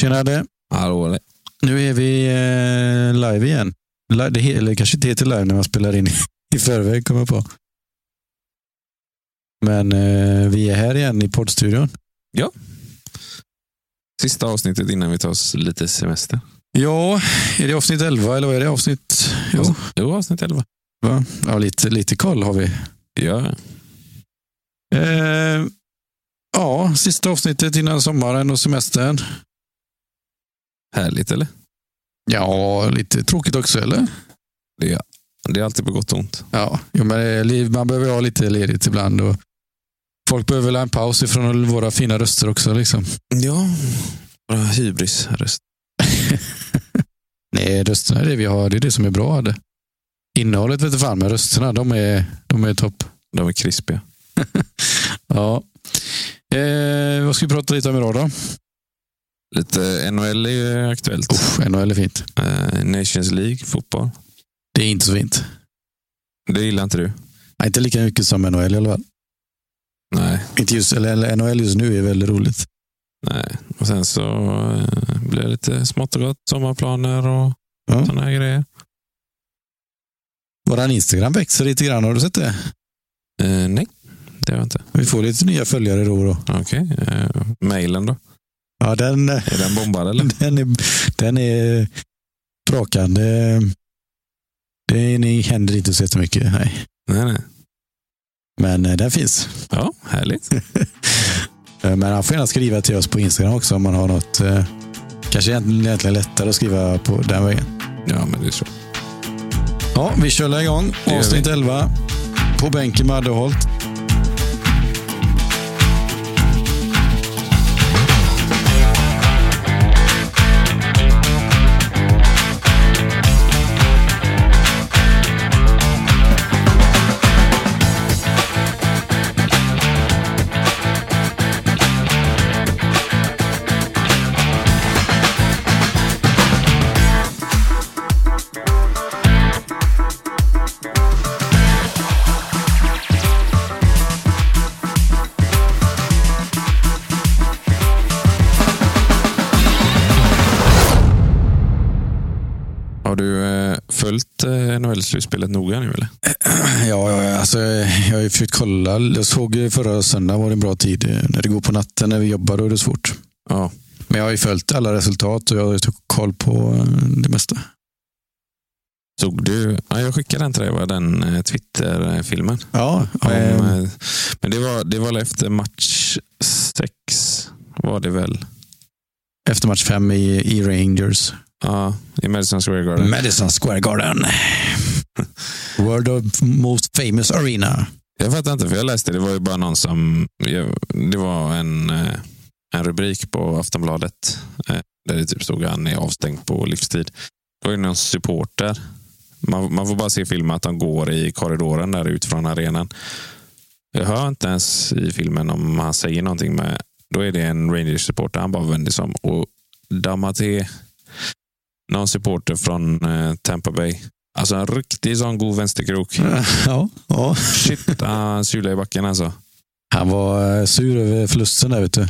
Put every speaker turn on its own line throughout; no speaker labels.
Tjenare!
Hallå, eller?
Nu är vi eh, live igen. Live, det, he- eller kanske inte heter live när man spelar in i förväg, kommer jag på. Men eh, vi är här igen i poddstudion.
Sista avsnittet innan vi tar oss lite semester.
Ja, är det avsnitt 11 eller vad är det avsnitt? Jo,
Alltså, Jo, avsnitt 11.
va? ja, lite, lite koll har vi.
Ja.
Eh, ja, sista avsnittet innan sommaren och semestern.
Härligt, eller?
Ja, lite tråkigt också, eller?
Det är alltid på gott och ont.
Ja, jo, men det är liv- man behöver ha lite ledigt ibland. Och folk behöver väl ha en paus ifrån våra fina röster också. Liksom.
Ja. Våra hybrisröst.
Nej, rösterna är det vi har. Det är det som är bra. Det. Innehållet vet du fan, men rösterna, de är, de är topp.
De är krispiga.
Ja. Eh, vad ska vi prata lite om idag då?
Lite NHL är ju aktuellt.
Oh, NHL är fint.
Eh, Nations League, fotboll.
Det är inte så fint.
Det gillar inte du?
Nej, inte lika mycket som NHL i alla fall.
Nej.
Inte just, eller, eller NHL just nu är väldigt roligt.
Nej. Och sen så eh, blir det lite smått och gott. Sommarplaner och
Ja.
sådana här grejer.
Våran Instagram växer lite grann, har du sett det?
Eh, nej, det har jag inte.
Vi får lite nya följare då och då.
Okej. Eh, mailen då?
Ja, den, eh,
Är den bombad eller?
den, är, den är brakande. Det, det händer inte så jättemycket, nej.
nej, nej.
Men eh, den finns.
Ja, härligt.
Eh, Men han får gärna skriva till oss på Instagram också om man har något. eh, Kanske egentligen egentligen lättare att skriva på den vägen.
Ja, men det är så.
Ja, vi kör igång.
Det gör vi.
Avsnitt 11. På bänken med Adderholt.
Har du eh, följt eh, NHL-slutspelet noga nu eller?
Ja, ja, ja, alltså, jag har ju försökt kolla. Jag såg ju förra söndagen var det en bra tid. Eh, När det går på natten när vi jobbar då är det svårt.
Ja.
Men jag har ju följt alla resultat och jag har ju tagit koll på eh, det mesta.
Såg du? Ja, jag skickade den till dig, va? den eh, Twitter-filmen.
Ja,
Om,
ehm,
eh, Men det var, det var väl efter match sex var det väl?
efter match fem i, i Rangers.
Ja, i Madison Square Garden.
Madison Square Garden. World of most famous arena.
Jag fattar inte, för jag läste det var ju bara någon som... jag- Det var en, eh, en rubrik på Aftonbladet eh, där det typ stod att han är avstängd på livstid. Det var ju någon supporter. Man, man får bara se i filmen att han går i korridoren där ut från arenan. Jag hör inte ens i filmen om han säger någonting. Med, då är det en Rangers-supporter han bara vänder sig om och dammar till någon supporter från eh, Tampa Bay. Alltså en riktig sån god vänsterkrok.
Ja, ja.
Shit, han sulade i backen alltså.
Han var eh, sur över förlusten där ute.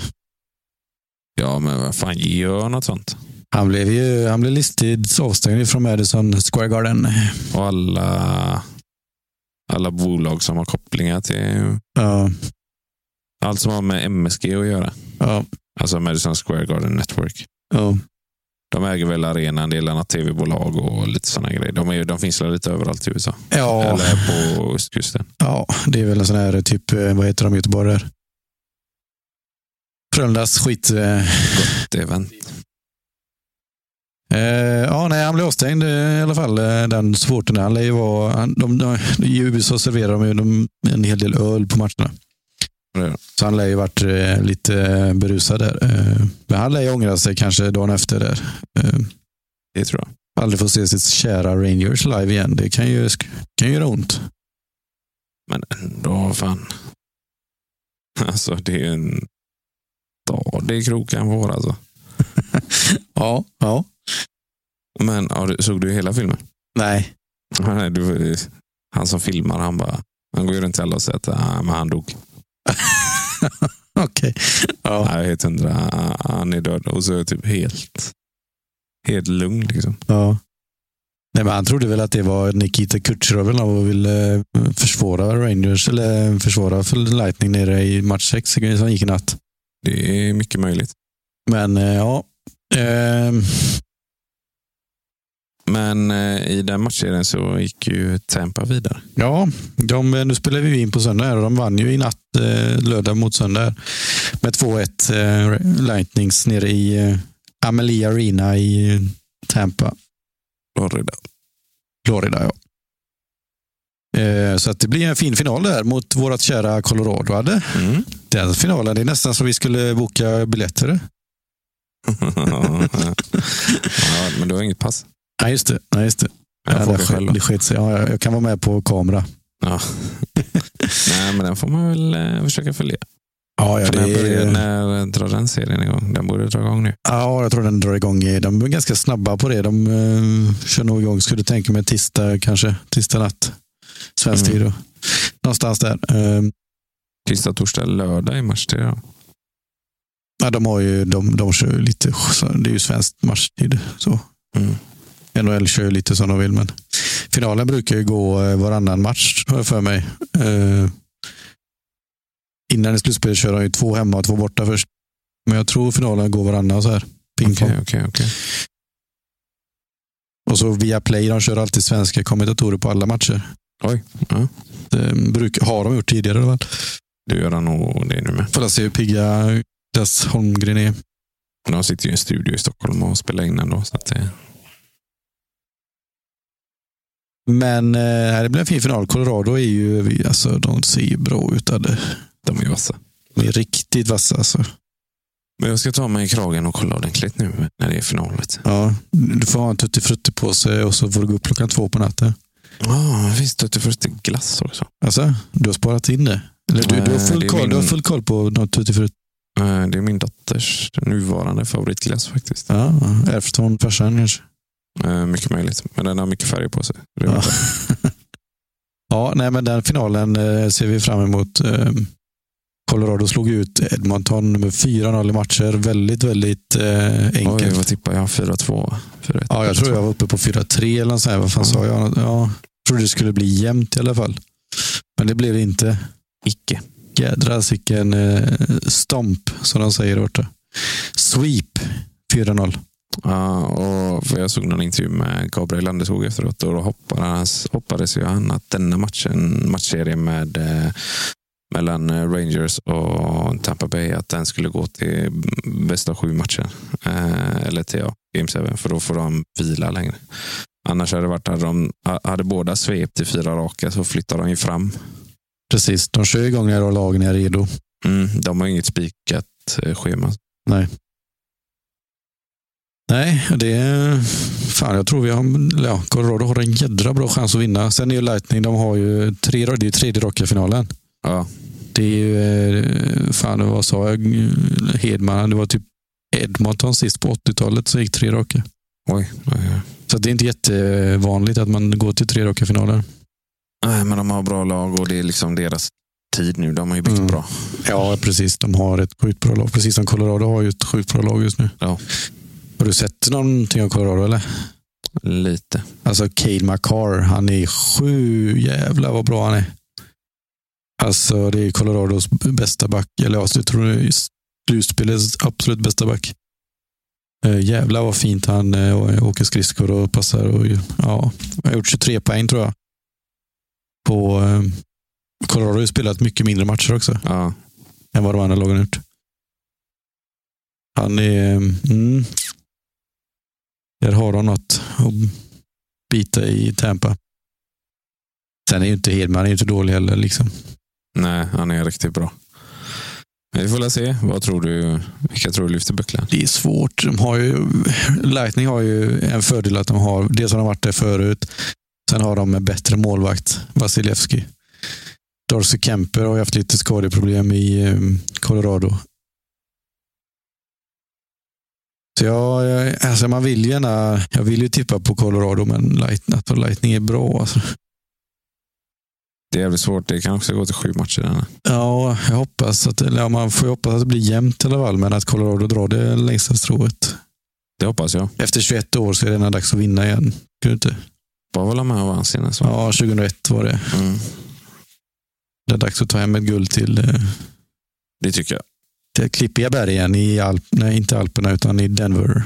Ja, men vad fan, gör något sånt.
Han blev ju han blev listigt avstängd från Madison Square Garden.
Och alla, alla bolag som har kopplingar till
Ja,
allt som har med MSG att göra.
ja,
Alltså Madison Square Garden Network.
ja.
De äger väl arenan, det är något tv-bolag och lite sådana grejer. De, är, de finns väl lite överallt i USA.
Ja,
Eller på östkusten.
ja, det är väl en sån här typ, eh, vad heter de i Göteborg där? Frölundas skit. eh,
Det är väl-
Eh, ja, nej, han blev avstängd eh, i alla fall, eh, den supportern. Han lär ju vara... Han, de, de, I USA serverar de, ju de en hel del öl på matcherna.
Ja.
Så han lär ju varit eh, lite eh, berusad där. Eh, men han lär ju ångra sig kanske dagen efter där. Eh,
det tror jag.
aldrig få se sitt kära Rangers live igen. Det kan ju, sk- kan ju göra ont.
Men ändå, fan. Alltså, det är en stadig krok han får alltså.
Ja. ja.
Men ja, du- såg du hela filmen?
Nej.
Nej, du, han som filmar, han bara han går ju runt till alla och säger att ah, men han dog.
Okej. Ja.
Nej, jag är helt hundra. Han är död. Och så är jag typ helt, helt lugn. Liksom.
ja. Nej, men han trodde väl att det var Nikita Kucherov eller något och ville eh, försvåra Rangers eller eh, försvåra för Lightning nere i match 6 som gick i natt.
Det är mycket möjligt.
Men eh, ja. Ehm,
Men eh, i den matchserien så gick ju Tampa vidare.
Ja, de, eh, nu spelar vi ju in på söndag här och de vann ju i natt, eh, lördag mot söndag, här, med 2-1 eh, Lightnings nere i eh, Amelie Arena i eh, Tampa,
Florida.
Florida. Ja. Eh, så att det blir en fin final där mot vårt kära Colorado. Hade.
Mm.
Den finalen, det är nästan som vi skulle boka biljetter.
ja, men du har inget pass.
Nej, just det. Nej, just det.
Jag
Ja,
får
det,
åka själv.
sk-
då.
det sket sig. Ja, jag, jag kan vara med på kamera.
Ja. Nej, men den får man väl eh, försöka följa.
Ja, ja,
För
det
när, börjar,
är,
när drar den serien igång? Den borde dra igång nu.
Ja, jag tror den drar igång. i- De är ganska snabba på det. De eh, kör nog igång, skulle tänka mig, tisdag kanske. Tisdag natt. Svensk
Mm.
tid. Då. Någonstans där. Eh,
Tisdag, torsdag, lördag i mars. Det är då.
ja, de, har ju, de, de kör ju lite, så det är ju svensk matchtid. Så.
Mm.
NHL kör ju lite som de vill, men finalen brukar ju gå eh, varannan match, har jag för mig. Eh, innan i slutspelet kör de ju två hemma och två borta först. Men jag tror finalen går varannan så här. Ping pong.
Okej, okej, okej.
Och så via Play, de kör alltid svenska kommentatorer på alla matcher.
Oj, ja.
Det bruk, har de gjort tidigare i alla fall.
Du gör nog det nu med.
Får jag se hur pigga Niklas Holmgren är.
De sitter ju i en studio i Stockholm och spelar in ändå. Så att eh, det,
Men eh, här, det blir en fin final. Colorado är ju, vi- alltså, de ser ju bra ut. Adde.
de är vassa.
De är riktigt vassa. Alltså.
Men jag ska ta mig i kragen och kolla ordentligt nu när det är final. vet du.
Ja, du får ha en tuttifrutti på sig och så får du gå upp klockan två på natten.
Ja, det finns tuttifrutti glass också.
Alltså, du har sparat in det. Eller du, du, har
Nej, det
full
är
koll, du har
min-
full koll på någon tuttifrutti.
Eh, Det är min dotters nuvarande favoritglass faktiskt.
Ja, ärvt från farsan kanske.
Eh, Mycket möjligt, men den har mycket färger på sig. Det är
Ja.
väl bra.
Ja, nej, men den finalen eh, ser vi fram emot. Eh, Colorado slog ut Edmonton med 4-0 i matcher. Väldigt, väldigt eh,
Oj,
enkelt.
vad tippar jag? 4-2? 4-1.
ja, jag tror jag var uppe på 4-3 eller något sånt här. Vad fan
Ja.
sa jag? Ja, jag trodde det skulle bli jämnt i alla fall. Men det blev det inte.
Icke.
Jädras vilken eh, stomp, som de säger där borta. Sweep 4-0.
Ja, och för jag såg någon intervju med Gabriel Landeskog efteråt och då hoppades, hoppades ju han att denna matchen, matchserien med, eh, mellan eh, Rangers och Tampa Bay, att den skulle gå till bästa sju matchen. Eh, eller till ja, Game 7, för då får de vila längre. Annars hade det varit, hade, de, hade båda svept till fyra raka så flyttar de ju fram.
Precis, de kör igång när och lagen är redo.
Mm, de har ju inget spikat eh, schema.
Nej, det är... Fan, jag tror vi har... Ja, Colorado har en jädra bra chans att vinna. Sen är ju Lightning, de har ju tre, det är ju tredje raka finalen.
Ja,
Det är ju... eh, Fan, vad sa jag? Hedman, det var typ Edmonton sist på 80-talet som gick tre raka.
oj. oj, oj.
Så det är inte jättevanligt att man går till tre raka finaler.
Nej, men de har bra lag och det är liksom deras tid nu. De har ju byggt
Mm.
bra.
Ja, precis. De har ett sjukt bra lag. Precis som Colorado har ju ett sjukt bra lag just nu.
Ja.
Har du sett någonting av Colorado eller?
Lite.
Alltså Cale Makar, han är sju jävla vad bra han är. Alltså det är Colorados b- bästa back, eller ja, jag tror det är slutspelets absolut bästa back. Uh, jävla vad fint han uh, åker skridskor och passar. Och, ju- ja, han har gjort 23 poäng tror jag. På, eh, Colorado har ju spelat mycket mindre matcher också
Ja.
än vad de andra lagen har gjort. Han är... Mm, där har de något att bita i Tampa. Sen är ju inte Hedman är ju inte dålig heller. Liksom.
Nej, han är riktigt bra. Men Vi får väl se. Vad tror du? Vilka tror du lyfter bucklan?
Det är svårt. De har ju, Lightning har ju en fördel att de har, dels har de varit där förut, sen har de en bättre målvakt, Vasilevski. Dorsey Kemper har ju haft lite skadeproblem i eh, Colorado. Så jag, jag- alltså man vill ju gärna, jag vill ju tippa på Colorado, men Light, att Lightning är bra. Alltså.
Det är jävligt svårt. Det kan också gå till sju matcher. Den här.
Ja, jag hoppas att, eller ja, man får ju hoppas att det blir jämnt i alla fall, men att Colorado drar det längsta strået.
Det hoppas jag.
Efter 21 år så är det nästan dags att vinna igen. Kan du inte?
Bara hålla med och vann senast. va?
Ja, 2001 var det.
Mm.
Det är dags att ta hem ett guld till, eh,
Det tycker jag.
till Klippiga bergen i Alp, nej, inte Alperna utan i Denver.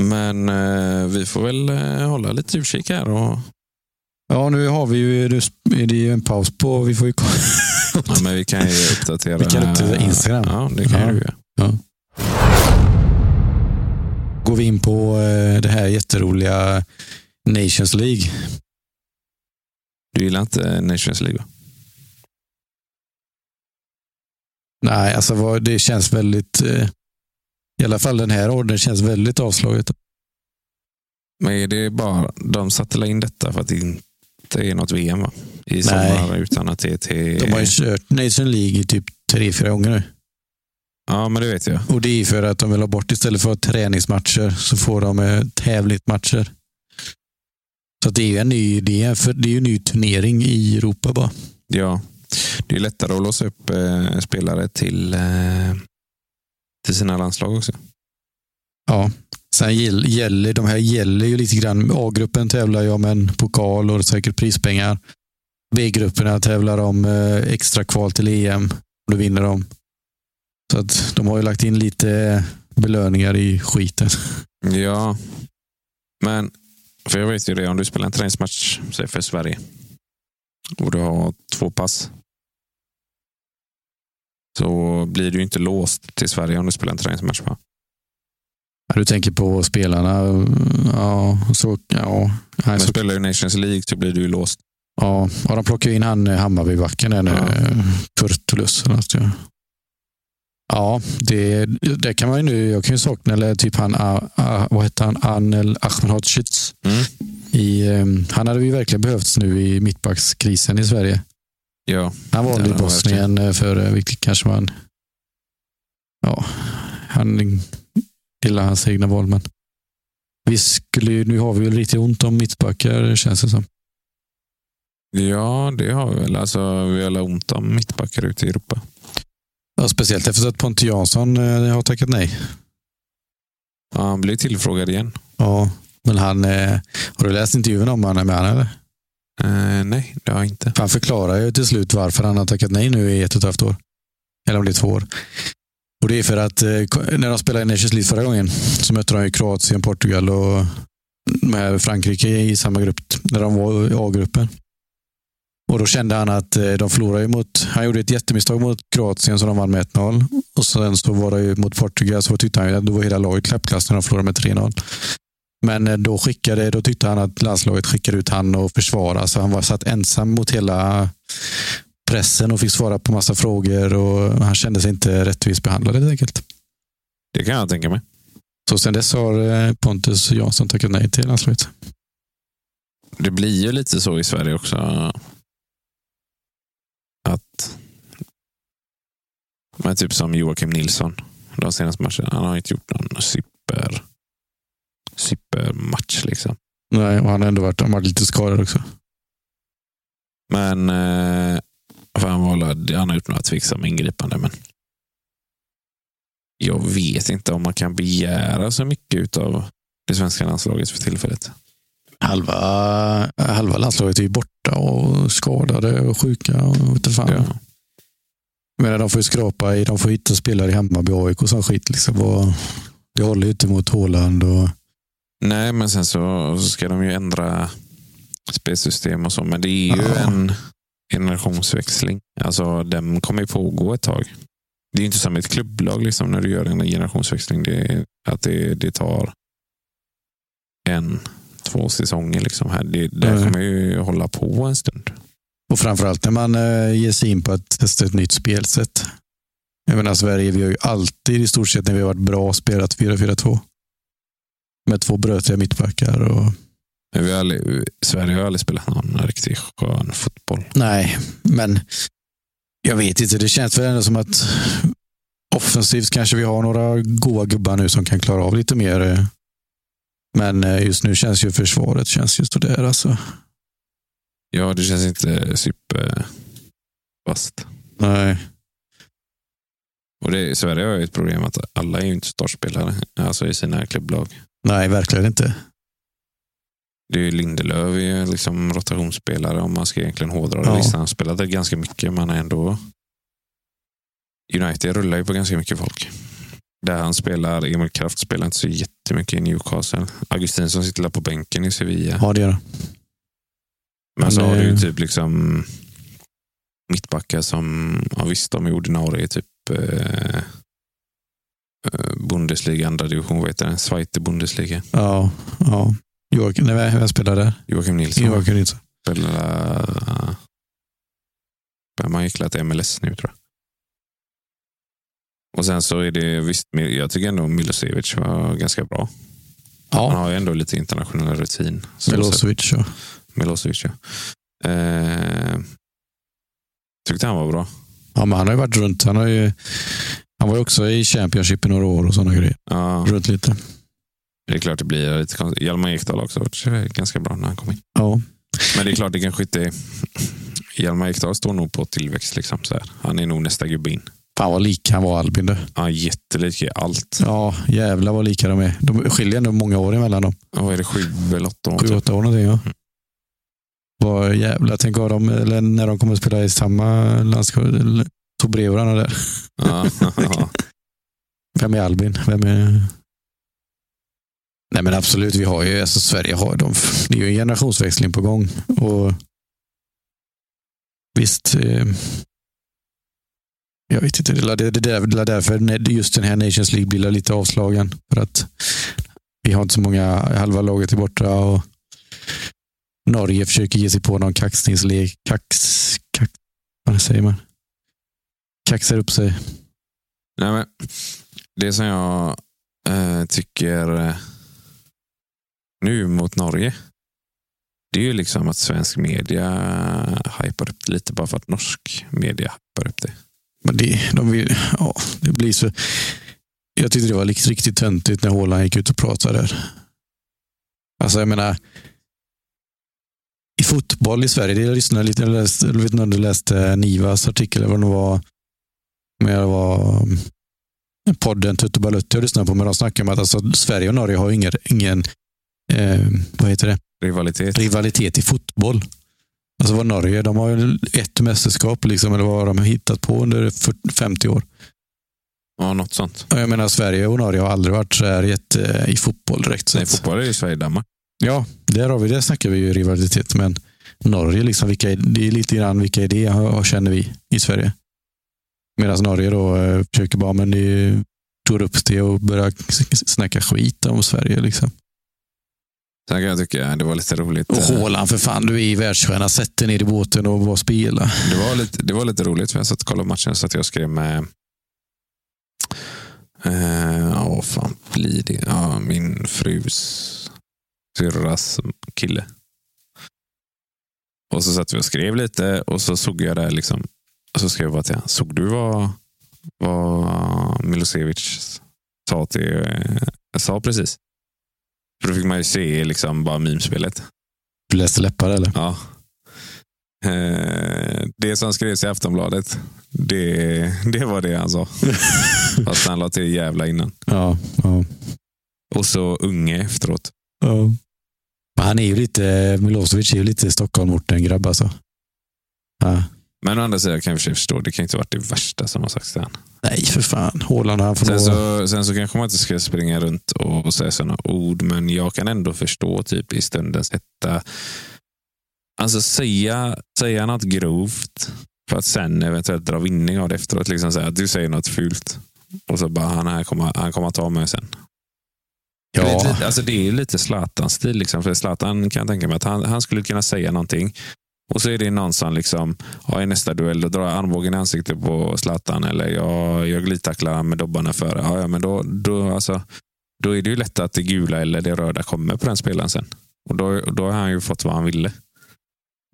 Men eh, vi får väl eh, hålla lite utkik här. Och,
Ja, nu har vi ju, nu är det ju en paus på, vi får ju kolla.
ja, men vi kan ju uppdatera.
Vi kan uppdatera Instagram.
Ja, det kan
Ja.
vi ju.
Går vi in på eh, det här jätteroliga Nations League.
Du gillar inte Nations League? va?
Nej, alltså vad, det känns väldigt, eh, i alla fall den här ordern känns väldigt avslaget.
Men är det bara, de satte väl in detta för att det inte är något VM va? i sommar utan att det är till...
De har ju kört Nation League i typ tre, fyra gånger nu.
Ja, men det vet jag.
Och det är för att de vill ha bort, istället för träningsmatcher så får de eh, tävlingsmatcher. Så att det är ju en ny idé, för det är ju en ny turnering i Europa bara.
Ja. Det är lättare att låsa upp eh, spelare till, eh, till sina landslag också.
Ja. Sen gäll- gäller, de här gäller ju lite grann. A-gruppen tävlar ju om en pokal och säkert prispengar. B-grupperna tävlar om eh, extra kval till EM. Och då vinner de. Så att de har ju lagt in lite belöningar i skiten.
Ja. Men, för jag vet ju det, om du spelar en träningsmatch, säg för Sverige, och du har två pass, så blir du ju inte låst till Sverige om du spelar en träningsmatch. Va?
Ja, Du tänker på spelarna. Ja, så, ja. Nej,
Men
så,
spelar du Nations League så blir du ju låst.
ja. ja de plockar ju in han eh, Hammarbybacken, där nu,
Ja.
eh, Kurtulus. eller något, ja. Ja, det, det kan man ju nu. Jag kan ju sakna, eller typ han, ah, ah, vad hette han, Anel Ahmedhodzic.
Mm.
I, eh, han hade ju verkligen behövts nu i mittbackskrisen i Sverige.
Ja.
Han
Det
valde
hade
i
han
Bosnien eh, för, eh, vilket kanske man... Ja, han gillar hans egna val, men vi skulle ju, nu har vi väl riktigt ont om mittbackar känns det som.
ja, det har vi väl. Alltså, vi har alla ont om mittbackar ute i Europa.
Ja, speciellt efter att Pontus Jansson eh, har tackat nej.
Ja, han blir tillfrågad igen.
Ja, men han, eh, har du läst intervjun om han är med han, eller?
Eh, nej, det har jag inte.
Han förklarar ju till slut varför han har tackat nej nu i ett och ett halvt år. Eller om det är två år. Och det är för att eh, ko- när de spelade i Nations League förra gången så mötte de ju Kroatien, Portugal och med Frankrike i samma grupp när de var i A-gruppen. Och då kände han att eh, de förlorade ju mot, han gjorde ett jättemisstag mot Kroatien som de vann med 1-0. Och sen så var det ju mot Portugal så tyckte han ju att då var hela laget klappkast när de förlorade med 3-0. Men eh, då, skickade, då tyckte han att landslaget skickade ut han och försvara. Så han var satt ensam mot hela pressen och fick svara på massa frågor och han kände sig inte rättvist behandlad helt enkelt.
Det kan jag tänka mig.
Så sen dess har eh, Pontus Jansson tackat nej till landslaget.
Det blir ju lite så i Sverige också. Att... Men typ som Joakim Nilsson. De senaste matcherna. Han har inte gjort någon super... Supermatch liksom.
Nej, och han har ändå varit, han har varit lite skadad också.
Men... Eh, fan vad alla- han har gjort några tveksamma ingripanden. Men jag vet inte om man kan begära så mycket av det svenska landslaget för tillfället.
Halva, halva landslaget är ju borta och skadade och sjuka. Och vet inte fan.
Ja.
Jag menar, de får ju skrapa i, de får ju hitta spelare i Hammarby, AIK och sån skit. Liksom. Och det håller ju inte mot Haaland och
Nej, men sen så, så ska de ju ändra spelsystem och så. Men det är ju
Ja.
en generationsväxling. Alltså, den kommer ju pågå ett tag. Det är ju inte som ett klubblag liksom, när du gör en generationsväxling. Det, är- att det, det tar en, två säsonger. Liksom här. Det, det här
Mm.
kommer ju hålla på en stund.
Och framförallt när man eh, ger sig in på att testa ett nytt spelsätt. Jag menar Sverige, vi har ju alltid i stort sett när vi har varit bra spelat 4-4-2. Med två brötiga mittbackar. Och...
Men vi har aldrig, Sverige har aldrig spelat någon riktigt skön fotboll.
Nej, men jag vet inte. Det känns väl ändå som att offensivt kanske vi har några goa gubbar nu som kan klara av lite mer. eh. Men eh, just nu känns ju försvaret känns ju sådär alltså.
Ja, det känns inte supervast.
Nej.
Och det, i Sverige har ju ett problem att alla är ju inte startspelare alltså i sina klubblag.
Nej, verkligen inte.
Det är ju Lindelöf är ju liksom rotationsspelare om man ska egentligen hårdra
Ja.
det. Visst, han spelade ganska mycket, men ändå. United rullar ju på ganska mycket folk. Där han spelar, Emil Kraft spelar inte så jättemycket i Newcastle. Augustinsson sitter där på bänken i Sevilla.
Ja, det gör det.
Men så
Men,
har du ju
eh,
typ liksom mittbackar som, ja visst de är ordinarie i typ eh, eh, Bundesliga, andra division, vad heter den? Zweite Bundesliga.
Ja, ja. Joakim, nej, vem spelar där?
Joakim Nilsson
Joakim Nilsson.
spelar, eh, vem har gycklat till MLS nu tror jag. Och sen så är det, visst, jag tycker ändå Milosevic var ganska bra. Han
Ja,
har ju ändå lite internationell rutin. Så sett-
Milosevic. Ja.
Milosevic, ja. Eh, tyckte han var bra.
ja, men han har ju varit runt. Han, har ju, han var ju också i Championship i några år och sådana grejer.
Ja,
Runt lite.
det är klart det blir lite konstigt. Hjalmar Ekdal har också varit ganska bra när han kom in.
Ja,
Men det är klart, det kanske inte är... Hjalmar Ekdal står nog på tillväxt. Liksom, så här. Han är nog nästa gubbe in.
fan vad lik han var Albin. du.
Han är jättelik i allt.
Ja, jävlar vad lika de är. De skiljer ändå många år emellan dem.
Och vad är det, sju eller åtta år?
Sju,
typ?
åtta år någonting. Ja. Mm. Vad jävlar, tänk vad de, eller när de kommer att spela i samma landskap. eller- Tog bredvid varandra där.
Ja, ja.
Vem är Albin? Vem är... Nej men absolut, vi har ju, alltså Sverige har de, det är ju en generationsväxling på gång. Och visst, eh, jag vet inte, det är det, det, där- det är därför när just den här Nations League blir lite avslagen. För att vi har inte så många, halva laget är borta och Norge försöker ge sig på någon kaxningslek, kax, kax, vad säger man? Kaxar upp sig.
Nej, men, det som jag eh, tycker eh, nu mot Norge, det är ju liksom att svensk media hypar upp det lite bara för att norsk media hypar upp det.
Men det, de vill, ja, det blir så. Jag tyckte det var likt- riktigt töntigt när Haaland gick ut och pratade där. Alltså jag menar, i fotboll i Sverige, det jag lyssnade lite, jag läste, jag vet inte om du läste Nivas artikel eller vad det var, men det var mm, podden Tutu Balutti jag lyssnade på, men de snackade om att alltså, Sverige och Norge har ju ingen, ingen eh, vad heter det,
Rivalitet.
rivalitet i fotboll. Alltså vad Norge, de har ju ett mästerskap liksom, eller vad de har hittat på under 40 50 år.
Ja, något sånt.
Och Jag menar Sverige och Norge har aldrig varit så här jätte eh, i fotboll direkt. Så
Nej,
att-
fotboll är ju Sverige-Danmark.
ja, där har vi, där snackar vi ju rivalitet. Men Norge, liksom, vilka, är- det är lite grann vilka idéer har- har- känner vi i Sverige? Medan Norge då eh, försöker bara, men det är- tar upp det och börjar s- s- snacka skit om Sverige. Liksom.
Sen kan jag tycka att det var lite roligt.
Och
eh,
Haaland, för fan, du är ju världsstjärna. Sätt dig ner i båten och bara spela.
Det var lite, det var lite roligt för jag satt och kollade på matchen så att jag skrev med eh, Ja, vad fan blir det? Ja, min frus syrras kille. Och så satt vi och skrev lite och så såg jag det liksom. Och så skrev jag bara till honom. Såg du vad, vad Milosevic sa, till, eh, sa precis? För då fick man ju se liksom bara mimspelet.
Du läste läppar eller?
Ja. Eh, Det som skrevs i Aftonbladet, det, det var det han sa. Fast han la till jävla innan.
Ja. ja.
Och så unge efteråt.
Men han är ju lite, Milosevic är ju lite Stockholm-orten-grabb alltså. Ja.
Men å andra sidan kan jag i och för sig förstå, det kan inte ha varit det värsta som har sagts till han.
Nej, för fan. Haaland han får
Sen
nog...
så, sen så kanske man inte ska springa runt och, och säga sådana ord, men jag kan ändå förstå typ i stundens hetta. Alltså säga, säga något grovt för att sen eventuellt dra vinning av det efteråt. Liksom säga att du säger något fult och så bara han, här kommer, han kommer att ta mig sen. Lite,
Ja,
lite- alltså det är ju lite Zlatans stil. Liksom, för Zlatan kan jag tänka mig att han, han skulle kunna säga någonting. Och så är det någon som liksom, ja, i nästa duell då drar jag armbågen i ansiktet på Zlatan eller jag, jag glidtacklar han med dobbarna före. Ja, ja, men då, då, alltså, då är det ju lätt att det gula eller det röda kommer på den spelaren sen. Och då, då har han ju fått vad han ville.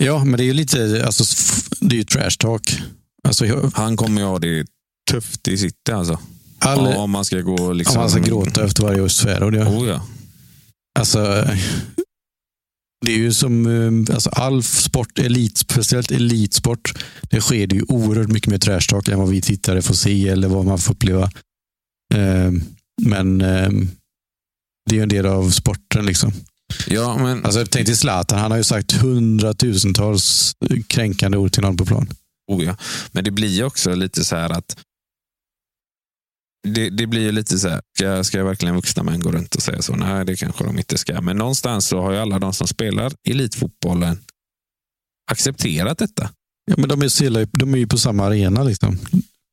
ja, men det är ju lite... Alltså, f- det är ju trash talk. Alltså, jag-
Han kommer ju ha det tufft i city alltså.
all,
Ja, om man ska gå liksom...
om man ska gråta efter varje svärord. Ja.
Oh, ja.
Alltså, Det är ju som eh, alltså all sport, elit, speciellt elitsport, det sker det ju oerhört mycket mer trashtalk än vad vi tittare får se eller vad man får uppleva. Eh, Men eh, det är ju en del av sporten. liksom.
Ja, men
Alltså, tänk till Zlatan, han har ju sagt hundratusentals kränkande ord till någon på plan.
Oh ja. Men det blir ju också lite så här att det, det blir ju lite så här, ska, ska jag verkligen vuxna män gå runt och säga så? Nej, det kanske de inte ska. Men någonstans så har ju alla de som spelar elitfotbollen accepterat detta.
Ja, men de är, så illa- de är ju på samma arena. liksom.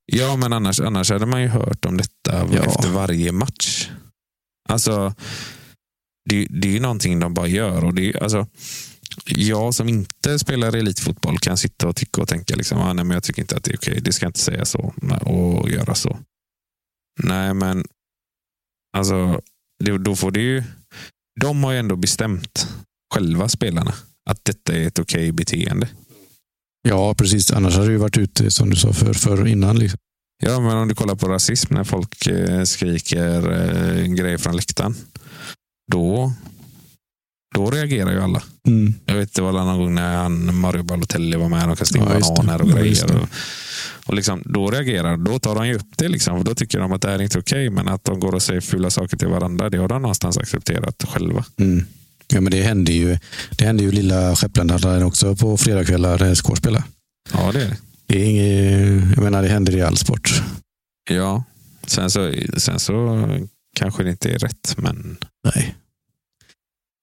Ja, men annars, annars hade man ju hört om detta
Ja.
efter varje match. Alltså, det, det är ju någonting de bara gör. Och det, är- alltså, jag som inte spelar elitfotboll kan sitta och tycka och tänka liksom, ah, nej, men jag tycker inte att det är okej. Det ska inte säga så och göra så. Nej, men alltså, det, då får det ju... De har ju ändå bestämt, själva spelarna, att detta är ett okej beteende.
Ja, precis. Annars hade det ju varit ute, som du sa, för, för innan. Liksom.
Ja, men om du kollar på rasism när folk eh, skriker eh, en grej från läktaren. Då, då reagerar ju alla.
Mm.
Jag vet det var en annan gång när han, Mario Balotelli var med och kastade in
Ja, just det.
bananer och
Ja, just
grejer.
det.
Och, och liksom, då reagerar Då tar de ju upp det. Liksom, för då tycker de att det här är inte okej. men att de går och säger fula saker till varandra, det har de någonstans accepterat själva.
Mm. Ja, men det hände ju det hände ju lilla Skepplandhallen också på fredagskvällar när SK spelade.
Ja, det är det.
Det är inget, jag menar, det händer i all sport.
Ja. Sen så, sen så kanske det inte är rätt, men
Nej.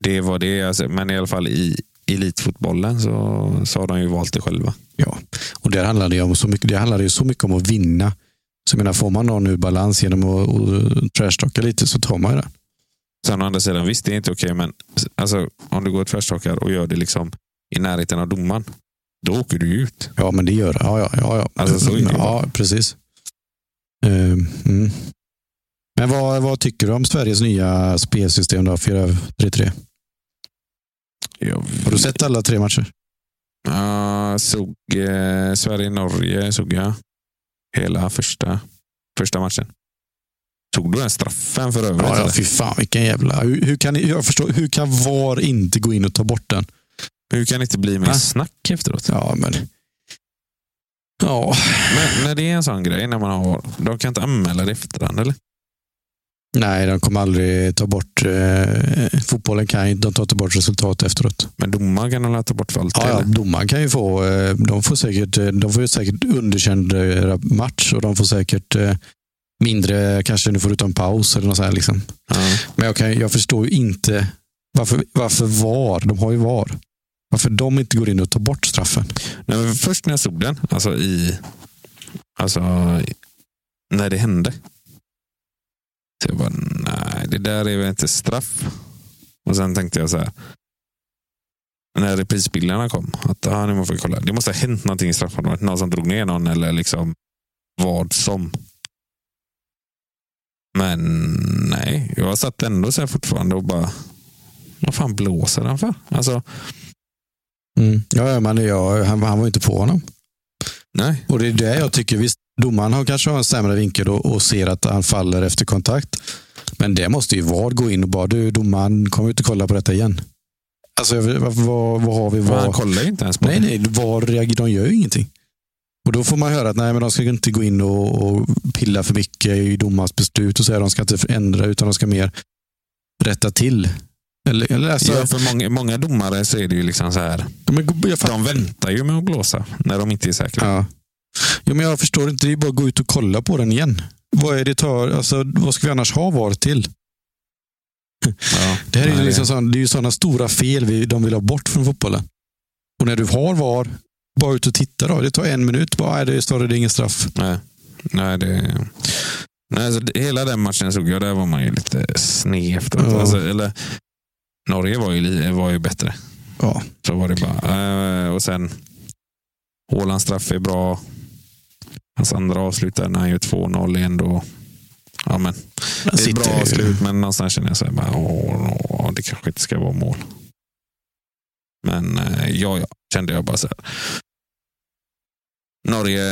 det var det. Alltså, men i alla fall i elitfotbollen så, så har de ju valt det själva.
Ja, och där handlar det, ju om så mycket, det handlar ju så mycket om att vinna. Så jag menar, får man någon ur balans genom att att trashtalka lite så tar man ju det.
Sen å andra sidan, visst det är inte okej, men alltså, om du går tvärstakar och gör det liksom i närheten av domaren, då åker du ju ut.
Ja, men det gör det. Ja, ja, ja, ja.
Alltså, så är det ju.
ja precis. Ehm, mm. Men vad, vad tycker du om Sveriges nya spelsystem då, 4-3-3? Har du sett alla tre matcher?
Ja, såg eh, Sverige-Norge, såg jag. Hela första, första matchen. Tog du den straffen för övrigt?
Ja, ja
eller?
fy fan vilken jävla... Hur, hur, kan, ni- jag förstår, hur kan VAR inte gå in och ta bort den?
Hur kan det inte bli mer
Va?
snack efteråt?
Ja, men... Ja,
Men när det är en sån grej, när man har, de kan inte anmäla det i efterhand, eller?
nej, de kommer aldrig ta bort... Eh, fotbollen kan ju, de tar inte bort resultat efteråt.
Men domaren kan de ta bort för allt.
Ja, ja,
eller?
domaren kan ju få... Eh, de, får säkert, eh, de får ju säkert underkänd eh, match och de får säkert eh, mindre... Kanske nu får du ta en paus eller något sånt här, liksom.
Ja.
Men jag, kan, jag förstår ju inte varför, varför VAR, de har ju VAR, varför de inte går in och tar bort straffen.
Nej, men först när jag såg den, alltså i... Alltså i- när det hände. Så jag bara, nej, det där är väl inte straff. Och sen tänkte jag så här. När reprisbilderna kom, att ah, nu måste vi kolla. Det måste ha hänt någonting i straffområdet. Någon som drog ner någon eller liksom vad som. Men nej, jag satt ändå så här fortfarande och bara, vad fan blåser han för? Alltså, Mm.
Ja, ja, men jag, han, han var ju inte på honom.
nej.
Och det är det jag tycker. Visst, domaren har kanske har en sämre vinkel och, och ser att han faller efter kontakt. Men det måste ju VAR gå in och bara, du domaren, kom ut och kolla på detta igen. Alltså, jag vet- varför- vad, vad har vi
För han
VAR?
kollar ju inte ens på
Nej,
det.
nej, VAR reagerar, de gör ju ingenting. Och då får man höra att nej, men de ska inte gå in och, och pilla för mycket i domarens beslut och säga de ska inte förändra utan de ska mer rätta till. Eller, eller alltså,
ja, för många, många domare så är det ju liksom så här.
men, jag fattar-
De väntar ju med att blåsa när de inte är säkra.
Ja. Jo, men jag förstår inte. Det är bara att gå ut och kolla på den igen. Vad är det tar, alltså, vad ska vi annars ha VAR till?
Ja.
Det här är ju
Nej,
liksom sån, det är ju sådana stora fel vi, de vill ha bort från fotbollen. Och när du har VAR, bara ut och titta då. Det tar en minut. Bara, nej, det står det, det är ingen straff.
Nej, nej, det, nej alltså, det- hela den matchen såg jag. Där var man ju lite sned efteråt.
Ja.
Alltså, eller, Norge var ju, li- var ju bättre.
Ja.
Så var det bara. Eh, och sen, Haalands straff är bra. Hans andra avslut där när han gör 2-0 är ändå... Ja, men,
Den
det är ett bra
sitter ju.
avslut, men någonstans känner jag så här, bara, åh, åh, det kanske inte ska vara mål. Men eh, ja, ja, kände jag bara så här. Norge,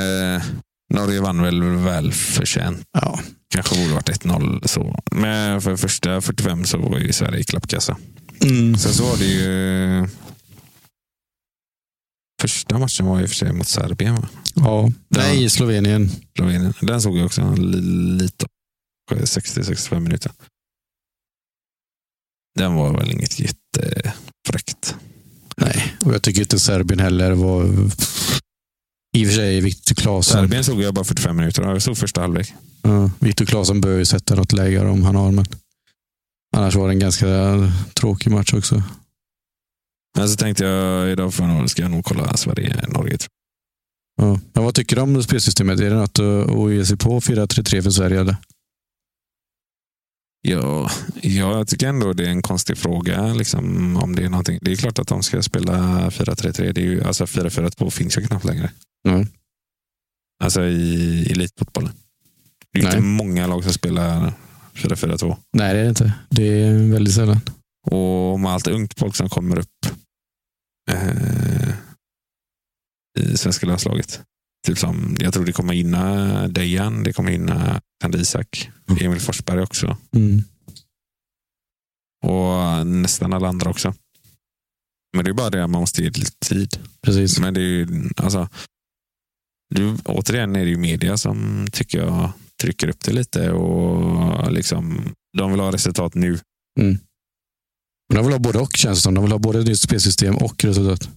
Norge vann väl välförtjänt.
Ja.
Kanske borde varit 1-0 så. Men för första 45 så var ju Sverige i klappkassa.
Mm.
Sen så var det ju... Första matchen var i och för sig mot Serbien. Va?
Ja. Nej, Slovenien.
Slovenien. Den såg jag också li- lite. 60-65 minuter. Den var väl inget jättefräckt.
Nej, och jag tycker inte Serbien heller var... I och för sig, Viktor Claesson.
Serbien såg jag bara 45 minuter. Jag såg första halvlek.
Ja, Viktor Claesson bör ju sätta något läge där om han har, men annars var det en ganska tråkig match också.
Men så tänkte jag idag för några ska jag nog kolla Sverige-Norge. tror
Ja. Men vad tycker du om spelsystemet? Är det något att eh, att ge sig på 4-3-3 för Sverige? Eller?
jag. Ja, ja, jag tycker ändå det är en konstig fråga. Liksom, om det, är någonting. det är klart att de ska spela 4-3-3. Det är ju, alltså 4-4-2 finns ju knappt längre.
Nej.
Alltså i elitfotbollen. Det är ju inte många lag som spelar 4-4-2.
Nej, det är det inte. Det är väldigt sällan.
Och med allt ungt folk som kommer upp eh, i svenska landslaget. Typ som, jag tror det kommer hinna Dejan, det kommer hinna Alexander Isak,
Mm.
Emil Forsberg också.
Mm.
Och nästan alla andra också. Men det är bara det att man måste ge det lite tid.
Precis.
Men det är ju, alltså, du, återigen är det ju media som tycker jag trycker upp det lite och liksom, de vill ha resultat nu.
Men de vill ha både och känns det som. De vill ha både ett nytt spelsystem och resultat.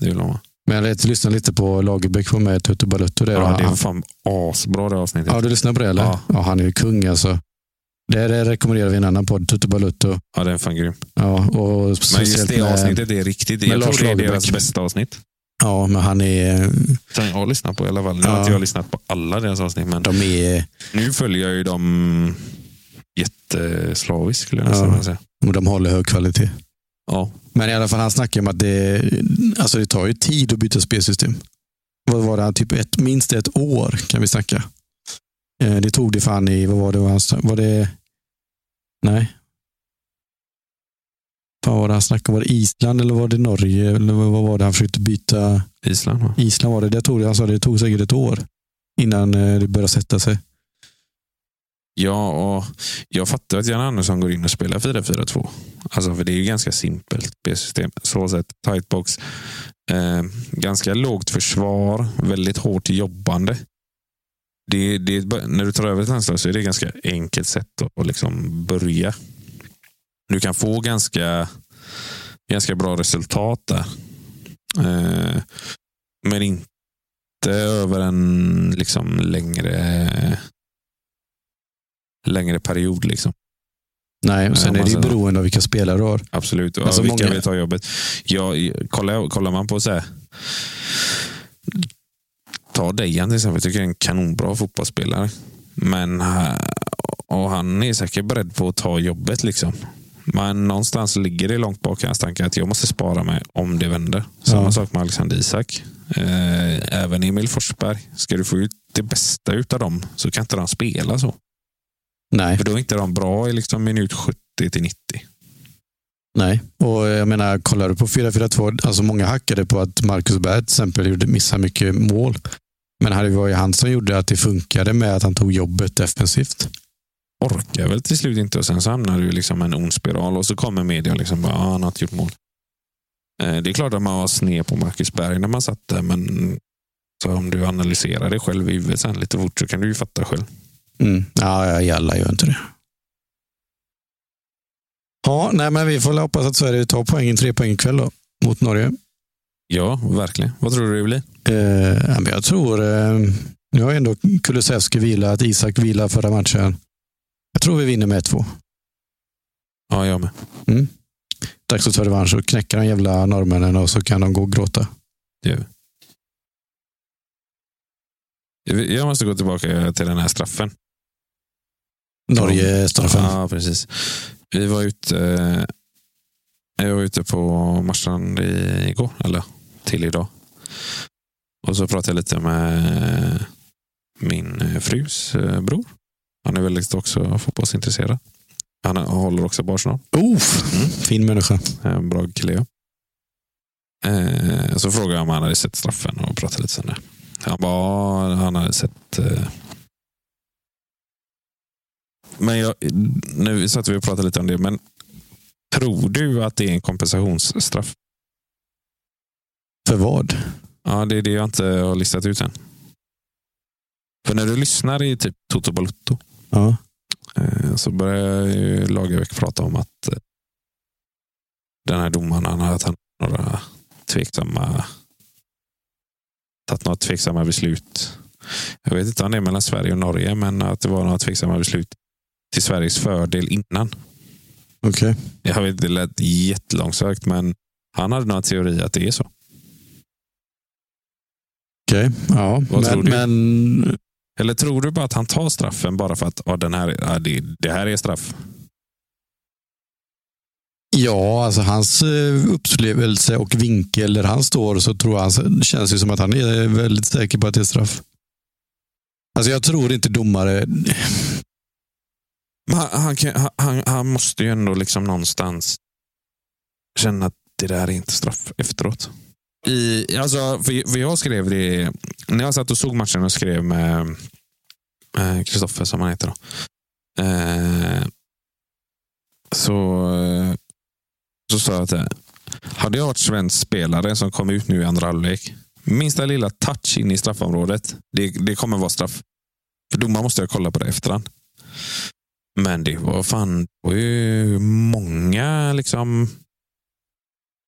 Det vill de ha.
Men jag lät- lyssnade lite på Lagerbäck var med i Tutu Balutto. där.
Ja,
Han-
det är fan asbra det avsnittet.
Ja, du lyssnar på det eller?
Ja.
Ja. han är ju kung alltså. Det här rekommenderar vi en annan podd, Tutu Balutto.
Ja, den är fan grym.
Ja, och
Men just
speciellt
det
med-
avsnittet är riktigt.
med
Jag tror
Lars
det är
Lagerbäck.
deras bästa avsnitt.
Ja, men han är...
Som jag har lyssnat på i alla fall. Nu har
Ja.
inte jag lyssnat på alla deras avsnitt, men
De är...
nu följer jag ju dem jätteslaviskt skulle jag nästan
Ja.
vilja säga.
De håller hög kvalitet.
Ja.
Men i alla fall, han snackar om att det, alltså det tar ju tid att byta spelsystem. Vad var det? han- Typ ett, minst ett år kan vi snacka. Eh, Det tog det fan i, vad var det han snack- Var det... Nej. Vad var det han snackade om? Var det Island eller var det Norge? Eller vad vad var det han försökte byta?
Island va?
Island var det. det tog, det- han sa det tog säkert ett år innan eh, det började sätta sig.
Ja, och jag fattar att Jan Andersson går in och spelar 4-4-2. Alltså, för det är ju ganska simpelt B-system. Så sett, tight box. Eh, ganska lågt försvar, väldigt hårt jobbande. Det, det, är ett bör- när du tar över ett landslag så är det ett ganska enkelt sätt att, att liksom börja. Du kan få ganska, ganska bra resultat där. Eh, men inte över en liksom längre längre period. Liksom.
Nej, och sen
Ja,
är det ju
massa-
beroende av vilka spelare du har.
Absolut. Och
Alltså,
vilka
många-
vill ta jobbet? Ja, i- kollar, kollar man på så här. Ta Dejan till exempel. Jag tycker det är en kanonbra fotbollsspelare. Men eh, och han är säkert beredd på att ta jobbet. liksom. Men någonstans ligger det långt bak i hans tankar att jag måste spara mig om det vänder. Samma
Ja.
sak med Alexander Isak. Eh, även Emil Forsberg. Ska du få ut det bästa utav dem så kan inte de spela så.
Nej,
För då är inte de bra i liksom minut 70 till 90.
nej. Och jag menar, kollar du på 4-4-2, alltså många hackade på att Marcus Berg till exempel gjorde, missade mycket mål. Men det var ju han som gjorde att det funkade med att han tog jobbet defensivt.
orkar väl till slut inte och sen så hamnar du i liksom en ond spiral och så kommer media och liksom bara, ah, han har inte gjort mål. Eh, det är klart att man var sned på Marcus Berg när man satt där, men så om du analyserar det själv i huvudet sen lite fort så kan du ju fatta själv.
Mm. Ja, ja, jalla gör inte det. Ja, nej, men vi får väl hoppas att Sverige tar poängen, tre poäng ikväll då, mot Norge.
Ja, verkligen. Vad tror du det blir?
Eh, ja, men jag tror, eh, nu har ju ändå Kulusevski vilat, Isak vilat förra matchen. Jag tror vi vinner med 1-2.
Ja, jag med.
Dags att ta revansch och knäcka de jävla norrmännen och så kan de gå och gråta.
Det gör vi. Jag måste gå tillbaka till den här straffen.
Norge straffen.
Ja, precis. Vi var ute, eh, jag var ute på Marstrand i- igår, eller till idag. Och så pratade jag lite med min eh, frus eh, bror. Han är väldigt också fotbollsintresserad. Han håller också Mm. på Arsenal.
Oof. Fin människa.
En bra kille ja. Eh, så frågade jag om han hade sett straffen och pratade lite sen där. Han bara, "Ja, han hade sett. Eh. Men jag, nu satt vi och pratade lite om det, men Tror du att det är en kompensationsstraff?
För vad?
Ja, det är det jag inte har listat ut än. För när du lyssnar i typ Toto Balotto
Ja.
Eh, så började ju Lagerbäck prata om att eh, den här domaren, han hade tagit några tveksamma, tagit några tveksamma beslut. Jag vet inte om det är mellan Sverige och Norge, men att det var några tveksamma beslut till Sveriges fördel innan.
Okej.
Jag vet, det lät jättelångsökt, men han hade några teori att det är så.
Okej. Ja.
Vad tror
Men,
du?
men
Eller tror du bara att han tar straffen bara för att ah, den här, ah, det, det här är straff?
ja, alltså hans eh, upplevelse och vinkel där han står så tror han, känns det som att han är väldigt säker på att det är straff. Alltså jag tror inte domare...
Men han, han, kan- han- han, han måste ju ändå liksom någonstans känna att det där är inte straff efteråt. I, alltså, för, för jag skrev det, när jag satt och såg matchen och skrev med eh, Kristoffer som han heter då. Eh, så, eh, så sa jag att eh, hade jag varit svensk spelare som kom ut nu i andra halvlek. Minsta lilla touch in i straffområdet. Det, det kommer vara straff. För domaren måste jag kolla på det efterhand. Men det var fan, det var ju många liksom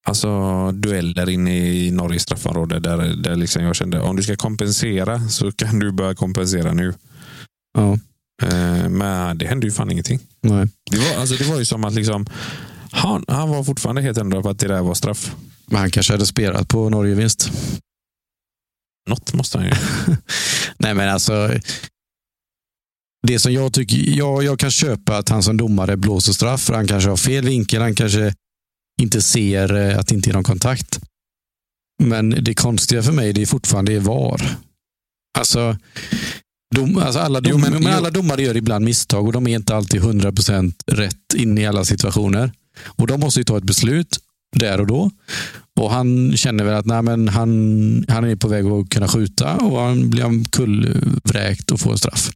Alltså dueller inne i Norges straffområde där, där liksom jag kände om du ska kompensera så kan du börja kompensera nu.
Ja.
Eh, Men det hände ju fan ingenting.
Nej.
Det var, alltså, det var ju som att liksom han, han var fortfarande helt ändå på att det där var straff.
Men han kanske hade spelat på Norge-vinst.
Något måste han ju.
Nej, men alltså. Det som jag tycker, jag, jag kan köpa att han som domare blåser straff, för han kanske har fel vinkel, han kanske inte ser eh, att det inte är någon kontakt. Men det konstiga för mig, det är fortfarande är VAR. Alltså, dom, alltså alla, dom,
Jo, men-
men,
jo.
alla domare gör ibland misstag och de är inte alltid 100% rätt in i alla situationer. Och de måste ju ta ett beslut där och då. Och han känner väl att nej, men han, han är på väg att kunna skjuta och han blir omkullvräkt och får en straff.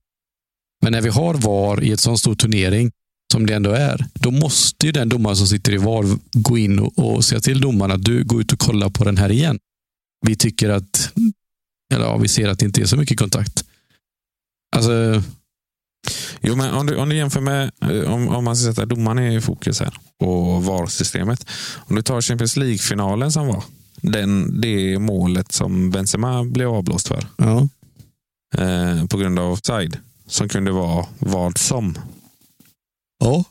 Men när vi har VAR i ett sån stor turnering som det ändå är, då måste ju den domaren som sitter i VAR gå in och, och säga till domaren att du går ut och kolla på den här igen. Vi tycker att, eller ja, vi ser att det inte är så mycket kontakt. Alltså,
Jo, men om du, om du jämför med, eh, om, om man ska sätta domaren i fokus här och VAR-systemet. Om du tar Champions League-finalen som var. Den, det målet som Benzema blev avblåst för
ja.
eh, på grund av offside. Som kunde vara vad som.
Ja.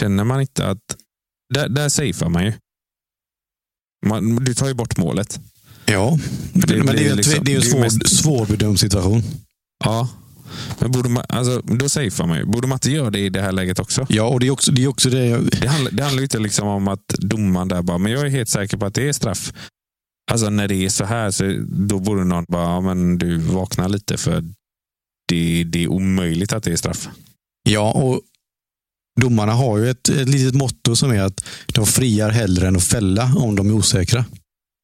Känner man inte att... Där, där safear man ju. Man, du tar ju bort målet.
ja.
Det
Men det
blir
är,
liksom-
liksom, det är ju en
det är
svår,
mest-
svårbedömd situation.
Ja. Men borde man, alltså, då safear man ju. Borde man inte göra det i det här läget också?
Ja, och det är också det, är också det jag,
Det handlar, det handlar ju inte liksom om att domaren där bara, men jag är helt säker på att det är straff. Alltså när det är så här, så då borde någon bara, ja, men du vaknar lite för det, det är omöjligt att det är straff.
Ja, och domarna har ju ett, ett litet motto som är att de friar hellre än att fälla om de är osäkra.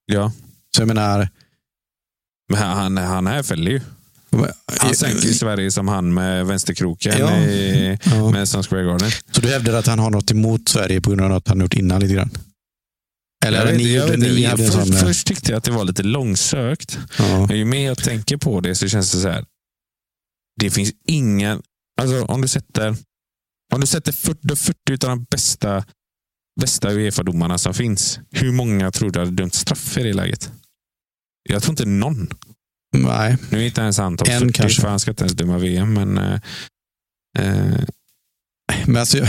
Ja,
Så jag menar,
men han- han, han här fäller ju.
eh,
Han sänker ju Sverige som han med vänsterkroken
Ja.
i
ja.
Madison Square Garden.
Så du hävdar att han har något emot Sverige på grund av något han gjort innan lite grann?
Jag
Eller
vet
ni
inte, jag
gjorde,
vet inte.
ni
Jag
hade en
för-
sån...
Först tyckte jag att det var lite långsökt.
Ja,
Men ju mer jag tänker på det så känns det så här. Det finns ingen... Alltså om du sätter... Om du sätter 40, 40 utav de bästa, bästa Uefa-domarna som finns. Hur många tror du hade dömt straff i det läget? Jag tror inte någon.
nej.
Nu är inte ens han topp
En
40,
kanske.
för han ska inte ens döma VM. Men, eh, eh,
Men alltså, jag-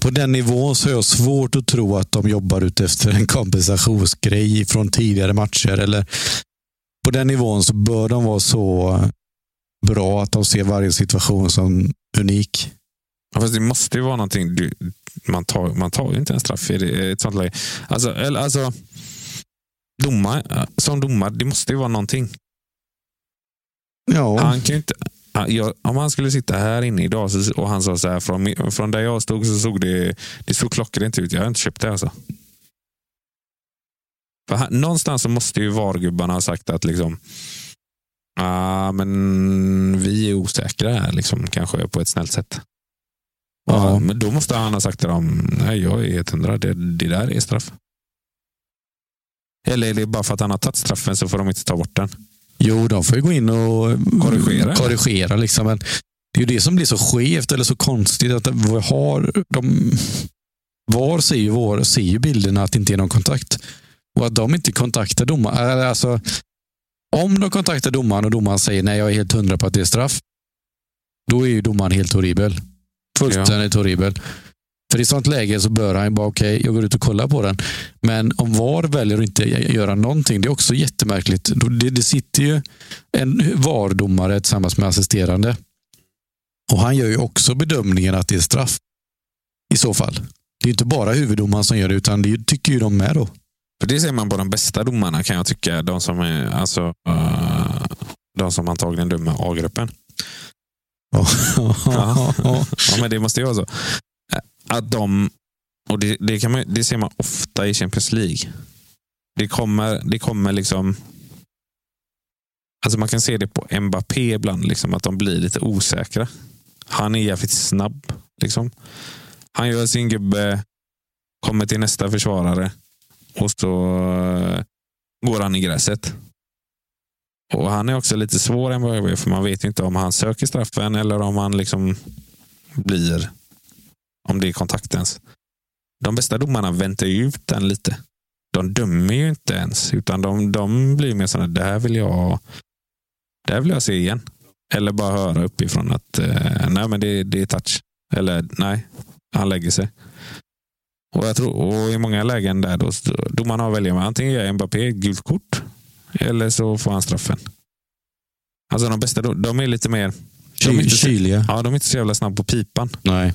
på den nivån så är jag svårt att tro att de jobbar ut efter en kompensationsgrej från tidigare matcher. Eller på den nivån så bör de vara så bra att de ser varje situation som unik.
fast det måste ju vara någonting. Du, man, tar, man tar ju inte en straff i det- ett sånt läge. Alltså, eller, alltså, domar, eh, som domare, det måste ju vara någonting.
Ja.
Han kan ju inte, han- jag, om han skulle sitta här inne idag så, och han sa så här, från, mi- från där jag stod så såg det, det såg klockrent ut. Jag har inte köpt det alltså. För han, någonstans så måste ju VAR-gubbarna ha sagt att liksom, ah, men vi är osäkra här, liksom, kanske på ett snällt sätt. Ja.
Ja.
men då måste han ha sagt till dem, nej jag är 100, det, det där är straff. Eller är det bara för att han har tagit straffen så får de inte ta bort den?
Jo, de får ju gå in och mm,
Korrigera.
korrigera liksom. Men det är ju det som blir så skevt eller så konstigt. att vi har, de, VAR ser ju, vår, ser ju bilderna att det inte är någon kontakt. Och att de inte kontaktar domaren. Alltså, om de kontaktar domaren och domaren säger nej, jag är helt hundra på att det är straff. Då är ju domaren helt horribel. Fullständigt horribel. För i sånt läge så bör han ju bara, okej, jag går ut och kollar på den. Men om VAR väljer att inte göra någonting, det är också jättemärkligt. Då- Det, det sitter ju en VAR-domare tillsammans med assisterande. Och han gör ju också bedömningen att det är straff. I så fall. Det är ju inte bara huvuddomaren som gör det, utan det tycker ju de med då.
För det ser man på de bästa domarna kan jag tycka. De som, är, alltså, eh, de som antagligen dömer A-gruppen. Ja. Ja, men det måste ju vara så. Eh, Att de, och det, det, kan man, det ser man ofta i Champions League. Det kommer, det kommer liksom... Alltså man kan se det på Mbappé ibland, liksom, att de blir lite osäkra. Han är jävligt snabb. Liksom. Han gör sin gubbe, kommer till nästa försvarare och så eh, går han i gräset. Och Han är också lite svår än vad jag är, för man vet ju inte om han söker straffen eller om han liksom blir, om det är kontaktens. De bästa domarna väntar ju ut den lite. De dömer ju inte ens, utan de, de blir mer sådana, det här vill jag det här vill jag se igen. Eller bara höra uppifrån att eh, nej, men det, det är touch. Eller nej, han lägger sig. Och jag tror, och i många lägen där då, så- domarna har att välja mellan antingen gör Mbappé gult kort eller så får han straffen. Alltså de bästa, dom- de är lite mer, De är
Ky-
inte-
Kyliga.
ja de är inte så jävla snabba på pipan.
Nej.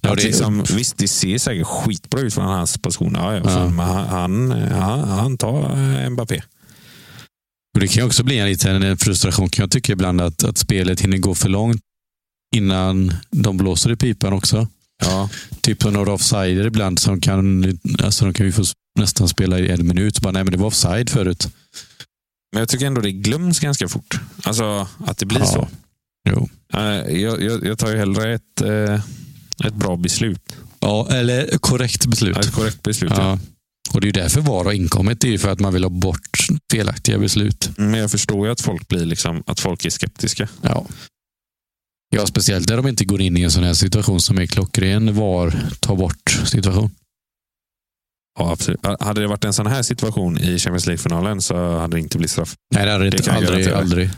Ja, det är liksom, visst, det ser säkert skitbra ut från hans position. Ja, ja,
Ja.
Men han, han, han, han tar eh, Mbappé.
Och det kan ju också bli en liten eh, frustration kan jag tycka ibland att, att spelet hinner gå för långt innan de blåser i pipan också.
Ja,
Typ som några offsider ibland som kan, alltså de kan ju få s- nästan spela i en minut. Bara, nej, men det var offside förut.
men jag tycker ändå det glöms ganska fort. Alltså att det blir
Ja.
så.
Jo.
Eh, Jag, jag, jag tar ju hellre ett, eh, ett bra beslut.
Ja, eller korrekt beslut.
Ett korrekt beslut. Ja.
Ja. Och det är ju därför VAR har inkommit. Det är ju för att man vill ha bort felaktiga beslut.
Men jag förstår ju att folk blir liksom, att folk är skeptiska.
Ja. Ja, speciellt när de inte går in i en sån här situation som är klockren VAR ta bort situation.
Ja, absolut. Ha- Hade det varit en sån här situation i Champions League-finalen så hade det inte blivit straff.
Nej, det hade
Det
inte.
kan jag
Aldrig,
garantera.
aldrig.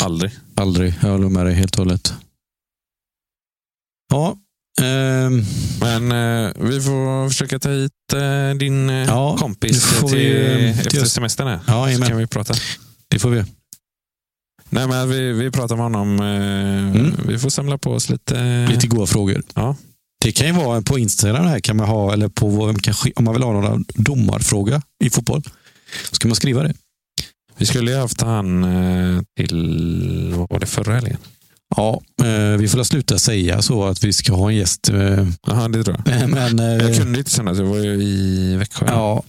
Aldrig.
Aldrig. Jag håller med dig helt och hållet. Ja. ehm,
Men eh, vi får försöka ta hit eh, din eh,
Ja,
kompis
det får
till,
vi, eh,
efter
göra.
semestern. Här.
ja,
Så
jajamän.
kan vi prata.
det får vi.
Nej, men vi, vi pratar med honom. eh,
Mm.
Vi får samla på oss lite.
Lite goa frågor.
Ja.
Det kan ju vara på Instagram här kan man ha, eller på vår, kanske, om man vill ha några domarfråga i fotboll. Så kan man skriva det.
Vi skulle ju haft han eh, till vad var det förra helgen.
Ja, eh, vi får väl sluta säga så att vi ska ha en gäst. eh,
Jaha, det tror jag.
Men
Jag
eh,
kunde inte sända, så jag var ju i Växjö.
ja,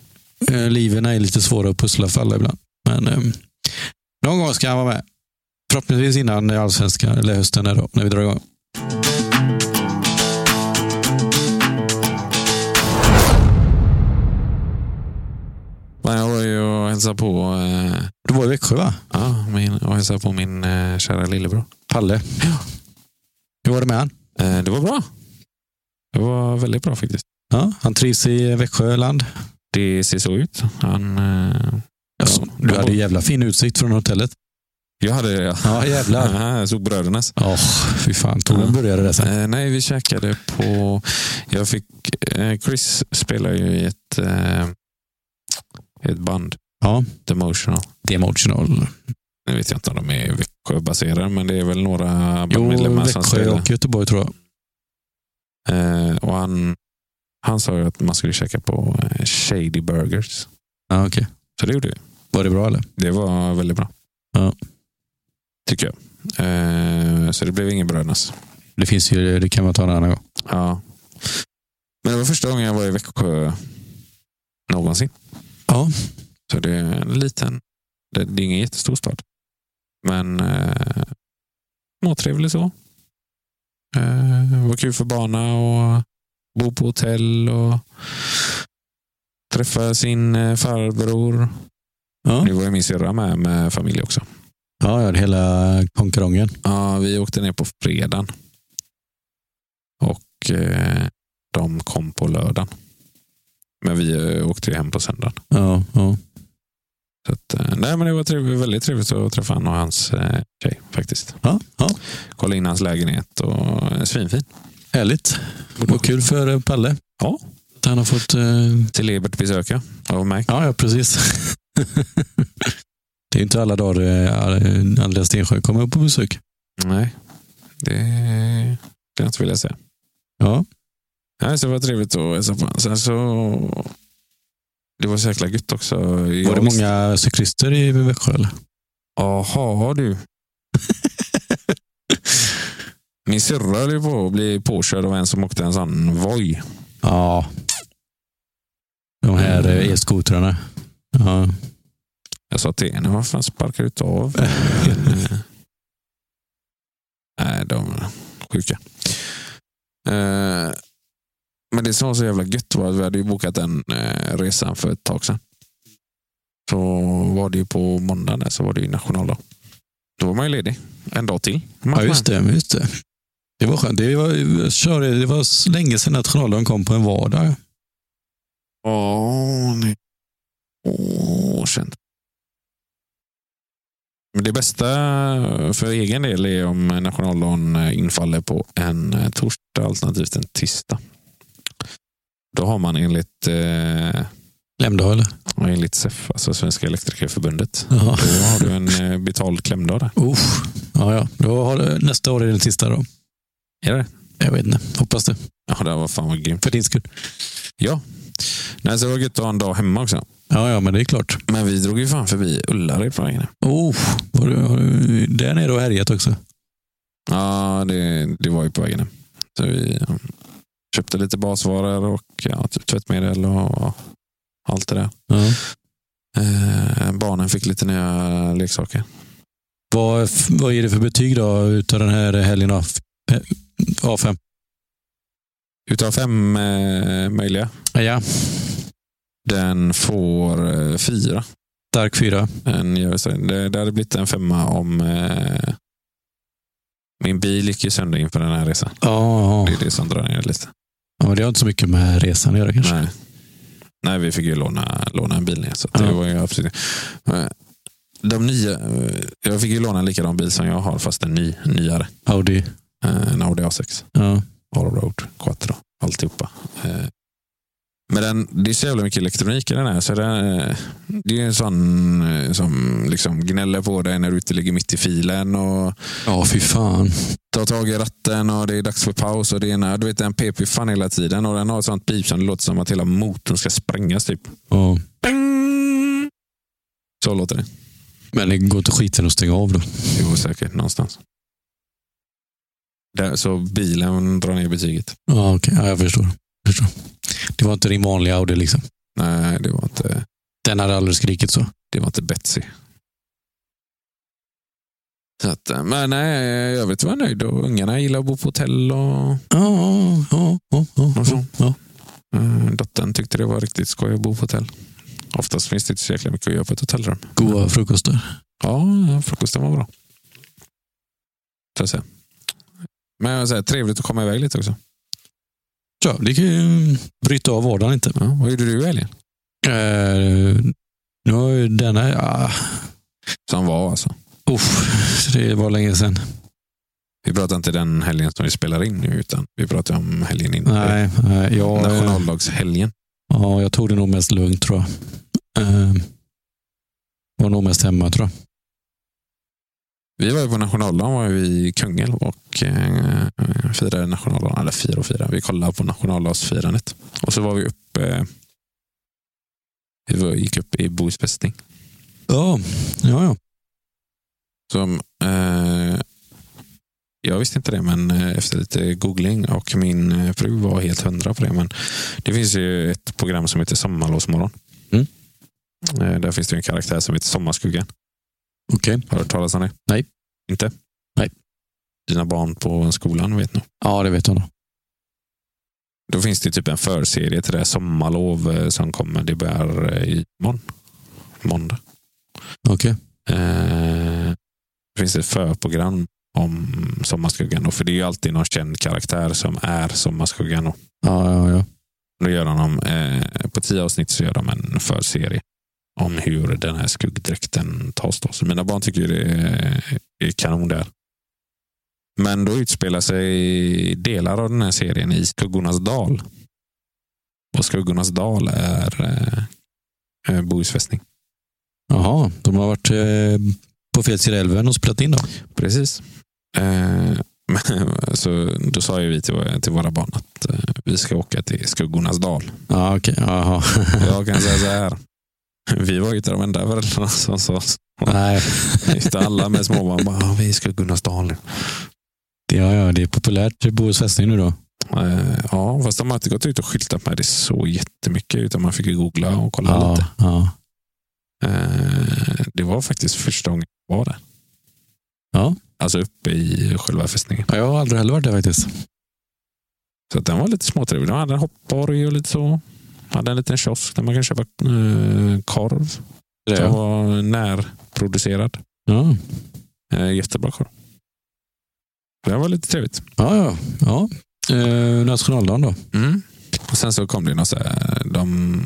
eh, liven är lite svåra att pussla för alla ibland. Men eh, någon gång ska han vara med. Förhoppningsvis innan allsvenskan, eller hösten är då, när vi drar igång.
Men jag var ju och hälsade på, eh,
Du var i Växjö va?
ja, min, och hälsade på min eh, kära lillebror.
Palle.
Ja.
Hur var det med han?
Eh, det var bra. Det var väldigt bra faktiskt.
Ja, han trivs i Växjöland.
Det ser så ut. Han, eh,
Ja, du hade jävla fin utsikt från hotellet.
jag hade
Ja, jävlar.
Ja, jag såg brödernas.
Ja, fy fan. Tog
Ja.
en burgare där sen.
Eh, nej, vi käkade på... Jag fick, eh, Chris spelar ju i ett, eh, ett band,
Ja,
The Motional.
det är emotional.
Nu vet jag inte om de är Växjöbaserade, men det är väl några
Jo,
bandmedlemmar som
Växjö
spelar.
och Göteborg tror jag.
Eh, och han, han sa ju att man skulle käka på eh, Shady Burgers.
Ja, okej.
Så det gjorde vi.
Var det bra eller?
Det var väldigt bra.
Ja.
Tycker jag. Eh, så det blev ingen brödnas.
Det finns ju, det kan man ta en annan gång.
Ja. Men det var första gången jag var i Växjö någonsin.
Ja.
Så det är en liten, det, det är ingen jättestor stad. Men eh, småtrevlig så. Eh, var kul för Bana och bo på hotell och träffa sin eh, farbror.
Ja,
Det var ju min syrra med, med familj också.
ja ja, hela konkarongen.
Ja, vi åkte ner på fredagen. Och eh, de kom på lördagen. Men vi eh, åkte ju hem på söndagen.
Ja, ja.
Så att, eh, nej, men det var trevligt, väldigt trevligt att träffa han och hans eh, tjej faktiskt.
ja, ja.
Kolla in hans lägenhet och eh, svinfin.
Härligt. Vad kul för eh, Palle.
Ja.
Att han har fått... eh,
Till Ebert besöka av mig.
Ja, ja precis. det är inte alla dagar eh, Andreas Stensjö kommer på besök.
Nej, det eh, skulle jag inte vilja säga.
Ja,
Nej, så det var trevligt att hälsa på honom. Sen så... Det var så jäkla gött också.
var det många cyklister i Växjö? Eller?
Jaha du. Min syrra höll ju på att bli påkörd av en som åkte en sån Voi.
Ja. De här eh, e-skotrarna. Ja.
Jag sa till henne, vad fan sparkar du inte av? Nej, de är sjuka. Eh, Men det som var så jävla gött var att vi hade ju bokat den eh, resan för ett tag sedan. Så var det ju på måndagen där, så var det ju nationaldag. Då var man ju ledig en dag till.
ja, just det. Just det. det var skönt. Det var, jag körde, det var s- länge sedan nationaldagen kom på en vardag.
Ja, nej. Åh, känt. Men det bästa för egen del är om nationaldagen infaller på en torsdag alternativt en tisdag. Då har man enligt, eh,
Lämdag eller?
enligt SEF, alltså Svenska Elektrikerförbundet,
Ja.
då har du en eh, betald klämdag där.
Usch. Ja, ja. Då har, du- nästa år är det den sista då.
Är det?
Jag vet inte. Hoppas det.
Ja, det var fan vad grymt.
För din skull.
Nej, så det var gött att ha en dag hemma också.
Ja, ja, men det är klart.
Men vi drog ju fan förbi Ullared på vägen.
Oh, var du, har du där nere och härjat också?
Ja, det, det var ju på vägen hem. Så vi eh, köpte lite basvaror och ja, typ tvättmedel och allt det där.
Ja.
Eh, barnen fick lite nya leksaker.
Vad, vad är det för betyg då utav den här helgen? av- eh, A5?
Utav fem eh, möjliga.
Ja.
Den får eh, fyra.
Stark fyra.
En, jag vet inte, det, det hade blivit en femma om eh, min bil gick ju sönder inför den här resan.
Ja,
Det är det som drar ner lite.
ja, men det har inte så mycket med resan att göra kanske.
Nej. Nej, vi fick ju låna, låna en bil ner. Så att det
Ja.
var ju absolut... Eh, De nya, eh, jag fick ju låna en likadan bil som jag har, fast en ny, nyare.
Audi.
Eh, En Audi A6.
Ja.
Allroad Quattro. Alltihopa. Eh, Men den, det är så jävla mycket elektronik i den här. Så den, eh, det är ju en sån eh, som liksom gnäller på dig när du inte ligger mitt i filen och
Ja, fy fan.
tar tag i ratten och det är dags för paus. och det ena, Du vet, den pep ju fan hela tiden och den har ett sånt pip som det låter som att hela motorn ska sprängas typ.
Ja.
Bang! Så låter det.
Men det går inte skiten att stänga av då.
Jo, säkert någonstans. Där, så bilen drar ner betyget.
Ja, okej. Ja, jag förstår. Jag förstår. Det var inte din vanliga Audi liksom.
Nej, det var inte,
Den hade aldrig skrikit så.
det var inte Betsy. Så att, eh, men nej, i övrigt var jag nöjd. Och ungarna gillar att bo på hotell och,
Ja, ja, ja, ja,
och så.
ja.
Eh, Dottern tyckte det var riktigt skoj att bo på hotell. Oftast finns det inte så jäkla mycket att göra på ett hotellrum.
Goda frukostar.
Ja, frukosten var bra. Så att säga. Men jag säger, trevligt att komma iväg lite också.
Ja, det kan ju bryta av vardagen inte.
Ja, vad gjorde du i helgen?
Eh, nu har ju den här... Ah,
Som var alltså.
uff, det var länge sedan.
Vi pratar inte den helgen som vi spelar in nu, utan vi pratar om helgen innan.
Nej, nej jag, eh,
Nationaldagshelgen.
ja, jag tog det nog mest lugnt tror jag. Eh, var nog mest hemma tror jag.
Vi var ju på nationaldagen var vi i Kungälv och eh, firade nationaldagen. Eller fira och fira. Vi kollade på nationaldagsfirandet. Och så var vi uppe. eh, Vi var, gick upp i Bohus fästning.
Ja, ja, ja.
Som, eh, jag visste inte det, men eh, efter lite googling och min eh, fru var helt hundra på det. Men det finns ju ett program som heter Sommarlovsmorgon.
Mm.
Eh, där finns det ju en karaktär som heter Sommarskuggan.
Okej.
Har du hört talas om det?
Nej.
Inte?
Nej.
dina barn på skolan vet nog.
Ja, det vet hon.
Då finns det typ en förserie till det här sommarlov eh, som kommer. Det börjar eh, imorgon. Måndag.
Okej.
Eh, finns det ett förprogram om Sommarskuggan. då? För det är ju alltid någon känd karaktär som är Sommarskuggan. då.
Ja, ja, ja.
Då gör de, eh, på tio avsnitt så gör de en förserie om hur den här skuggdräkten tas. Då. Så mina barn tycker ju det är- är kanon där. Men då utspelar sig delar av den här serien i Skuggornas dal. Och Skuggornas dal är eh, eh, Bohus fästning.
Jaha, de har varit eh, på fel sida älven och spelat in då?
Precis. Eh, men- så då sa ju vi till, till våra barn att eh, vi ska åka till Skuggornas dal.
Ja, okej. Jaha.
Jag kan säga så här. Vi var ju inte de enda föräldrarna som sa så.
Nej,
Inte alla med småbarn bara, "Ja, vi är i Skuggornas dal nu.
det, ja, ja, det är populärt i Bohus fästning nu då.
Eh, ja, fast de har inte gått ut och skyltat med det så jättemycket utan man fick ju googla och kolla lite.
ja.
Eh, det var faktiskt första gången jag var där.
Ja.
Alltså uppe i själva fästningen.
Ja, Jag har aldrig heller varit där faktiskt.
Så att den var lite småtrevlig. De hade en hoppborg och lite så. Hade en liten kiosk där man kan köpa eh, korv. Som
Ja.
var närproducerad.
Ja.
Eh, jättebra korv. Det var lite trevligt.
Ja, ja. ja. Eh, nationaldagen då?
Mm. Och sen så kom det något så här, de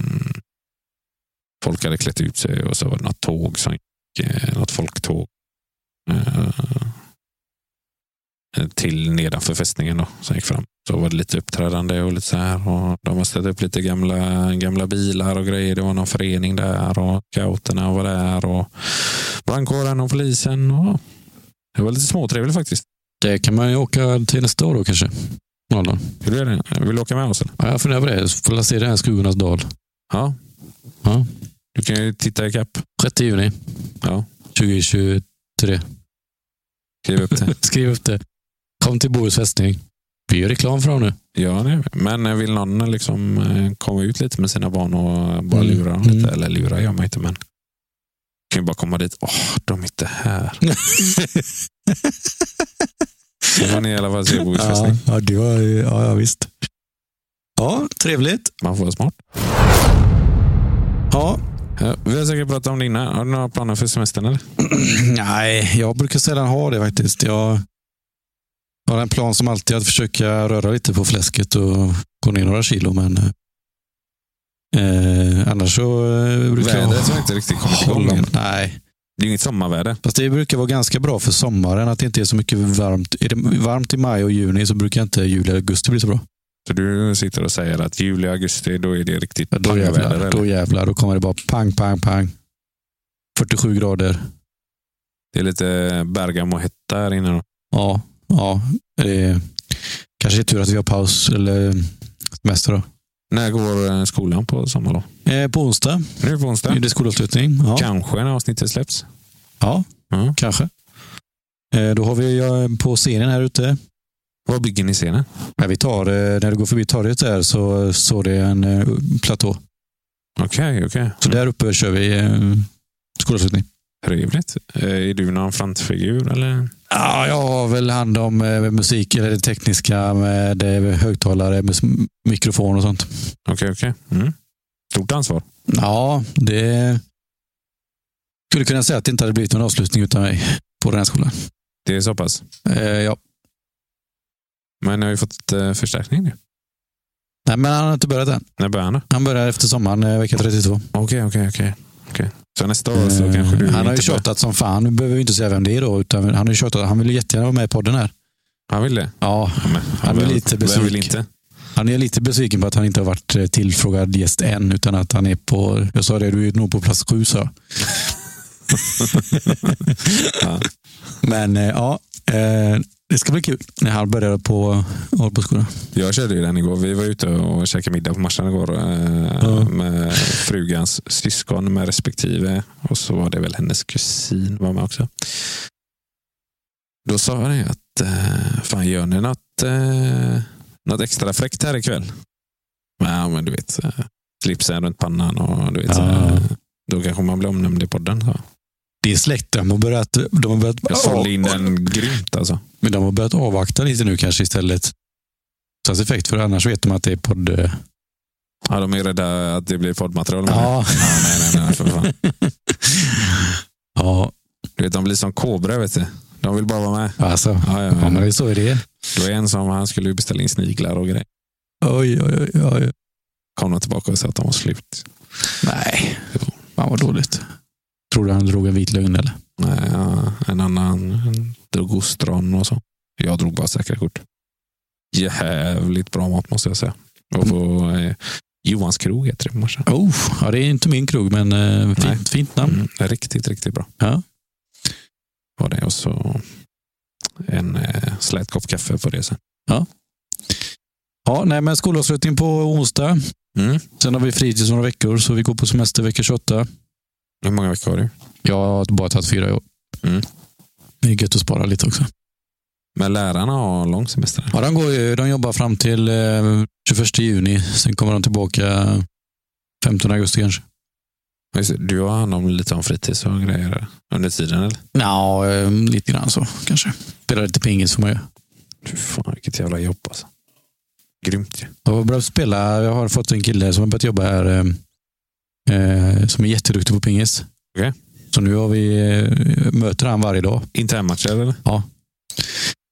Folk hade klätt ut sig och så var det något tåg som gick. eh, Något folktåg. Eh, till nedanför fästningen då, som gick fram. Så var det lite uppträdande och lite så här. Och de har ställt upp lite gamla, gamla bilar och grejer. Det var någon förening där och scouterna var där och brandkåren och polisen. Och det var lite småtrevligt faktiskt.
Det kan man ju åka till nästa år då kanske. Nationaldagen.
Vill du, göra det? Vill du åka med oss? Eller?
Ja, jag funderar på det. Så Får jag se den här Skuggornas dal.
Ja.
Ja.
Du kan ju titta ikapp.
6 juni
Ja.
2023.
Skriv upp det.
Skriv upp det. Kom till Bohus fästning. Vi gör reklam för dem nu.
Ja, det är vi. Men eh, vill någon liksom eh, komma ut lite med sina barn och bara
Mm.
lura dem lite?
Mm.
Eller lura gör man inte, men kan ju bara komma dit. Åh, de är inte här. Då får ni i alla fall se Bohus fästning.
ja, det var, ja, ja, visst. Ja, trevligt.
Man får vara smart.
Ja.
Ja, vi har säkert pratat om det innan. Har du några planer för semestern? Eller?
Nej, jag brukar sällan ha det faktiskt. Jag har en plan som alltid att försöka röra lite på fläsket och gå ner några kilo, men eh, annars så eh, brukar jag
Vädret har inte riktigt kommit igång
hålla
än.
mig. Nej,
Det är ju inget sommarväder.
Fast det brukar vara ganska bra för sommaren, att det inte är så mycket varmt. Är det varmt i maj och juni så brukar inte juli och augusti bli så bra.
Så du sitter och säger att juli, augusti, då är det riktigt
Men Då
pangväder.
jävlar,
eller?
då jävlar, då kommer det bara pang, pang, pang. 47 grader.
Det är lite Bergamohetta här inne. då.
Ja, ja. Det är, kanske är tur att vi har paus eller semester då.
När går eh, skolan på sommarlov?
Eh, på onsdag
Nu på onsdag.
är det skolavslutning. Ja,
Kanske när avsnittet släpps.
ja
Ja.
kanske. Eh, då har vi eh, på scenen här ute.
Vad bygger ni scenen?
När, vi tar, eh, när du går förbi torget där så står det en eh, platå.
Okej, okej.
Så där uppe kör vi eh, skolavslutning.
Trevligt. Eh, Är du någon frontfigur eller?
Ja, jag har väl hand om eh, musik eller det tekniska med eh, högtalare, med s- mikrofon och sånt.
Okej, okej. Mm. Stort ansvar.
Ja, det skulle kunna säga att det inte hade blivit någon avslutning utan mig på den här skolan.
Det är så pass.
Eh, ja.
Men har vi fått eh, förstärkning nu?
Nej, men han har inte börjat än.
När börjar han? då?
Han börjar efter sommaren, eh, vecka 32.
Okej, okej, okej. Okej. Så nästa år så
Eh,
kanske du
han har ju
inte börjar.
tjatat som fan. Nu behöver vi inte säga vem det är då. Utan han, har ju tjatat, han vill ju jättegärna vara med i podden här.
Han vill det?
Ja,
Ja, men,
Han blir lite
Vem vill
besviken.
inte?
han är lite besviken på att han inte har varit eh, tillfrågad gäst än. Utan att han är på, jag sa det, du är nog på plats sju så.
Ja.
Men eh, ja, eh, det ska bli kul när han börjar på Arbetsskolan.
Jag körde ju den igår. Vi var ute och käkade middag på Marstrand igår eh,
Ja.
med frugans syskon med respektive. Och så var det väl hennes kusin var med också. Då sa jag det att eh, fan gör ni något, eh, något extra fräckt här ikväll? Ja, men du vet, eh, slipsen runt pannan och du vet.
Ja.
så här, då kanske man blir omnämnd i podden. Så.
Det är släkten. De har börjat... De har börjat
Jag sålde in den grymt alltså.
Men de har börjat avvakta lite nu kanske istället. Tas effekt för annars vet de att det är podd... eh.
Ja, de är rädda att det blir poddmaterial. Ja.
Ja.
nej, nej, nej, för fan.
ja,
Du vet, de blir som kobra, vet du. De vill bara vara med.
alltså.
Ja, ja,
Ja, men
ja.
det är så det är.
Det var en som han skulle beställa in sniglar och grejer.
Oj, oj, oj. oj.
Kom de tillbaka och sa att de var slut.
Nej. Fan vad dåligt. Tror du han drog en vit lögn eller?
Nej, ja, en annan drog ostron och så. Jag drog bara säkra kort. Jävligt bra mat måste jag säga. Jag var på eh, Johans krog heter det på morse.
Oh, ja, det är inte min krog, men eh,
Nej.
fint, fint namn.
Mm, riktigt, riktigt bra.
Ja.
Var det. Och så en eh, slät kopp kaffe på det sen.
Ja, nej, men skolavslutning på onsdag.
Mm.
Sen har vi fritid några veckor, så vi går på semester vecka 28.
Hur många veckor har du?
Jag har bara tagit fyra jobb.
Mm.
Det är gött att spara lite också.
Men lärarna har lång semester.
Ja, de, går ju, de jobbar fram till eh, 21 juni. Sen kommer de tillbaka 15 augusti kanske.
Just det, Du har hand om lite om fritids och grejer under tiden eller?
Ja, eh, lite grann så kanske. Spelar lite pingis får man ju.
Fy fan vilket jävla jobb alltså. Grymt ju.
Jag har börjat spela. Jag har fått en kille som har börjat jobba här eh, eh, som är jätteduktig på pingis.
Okej.
Så nu har vi, eh, möter han varje dag.
Internmatcher eller?
Ja.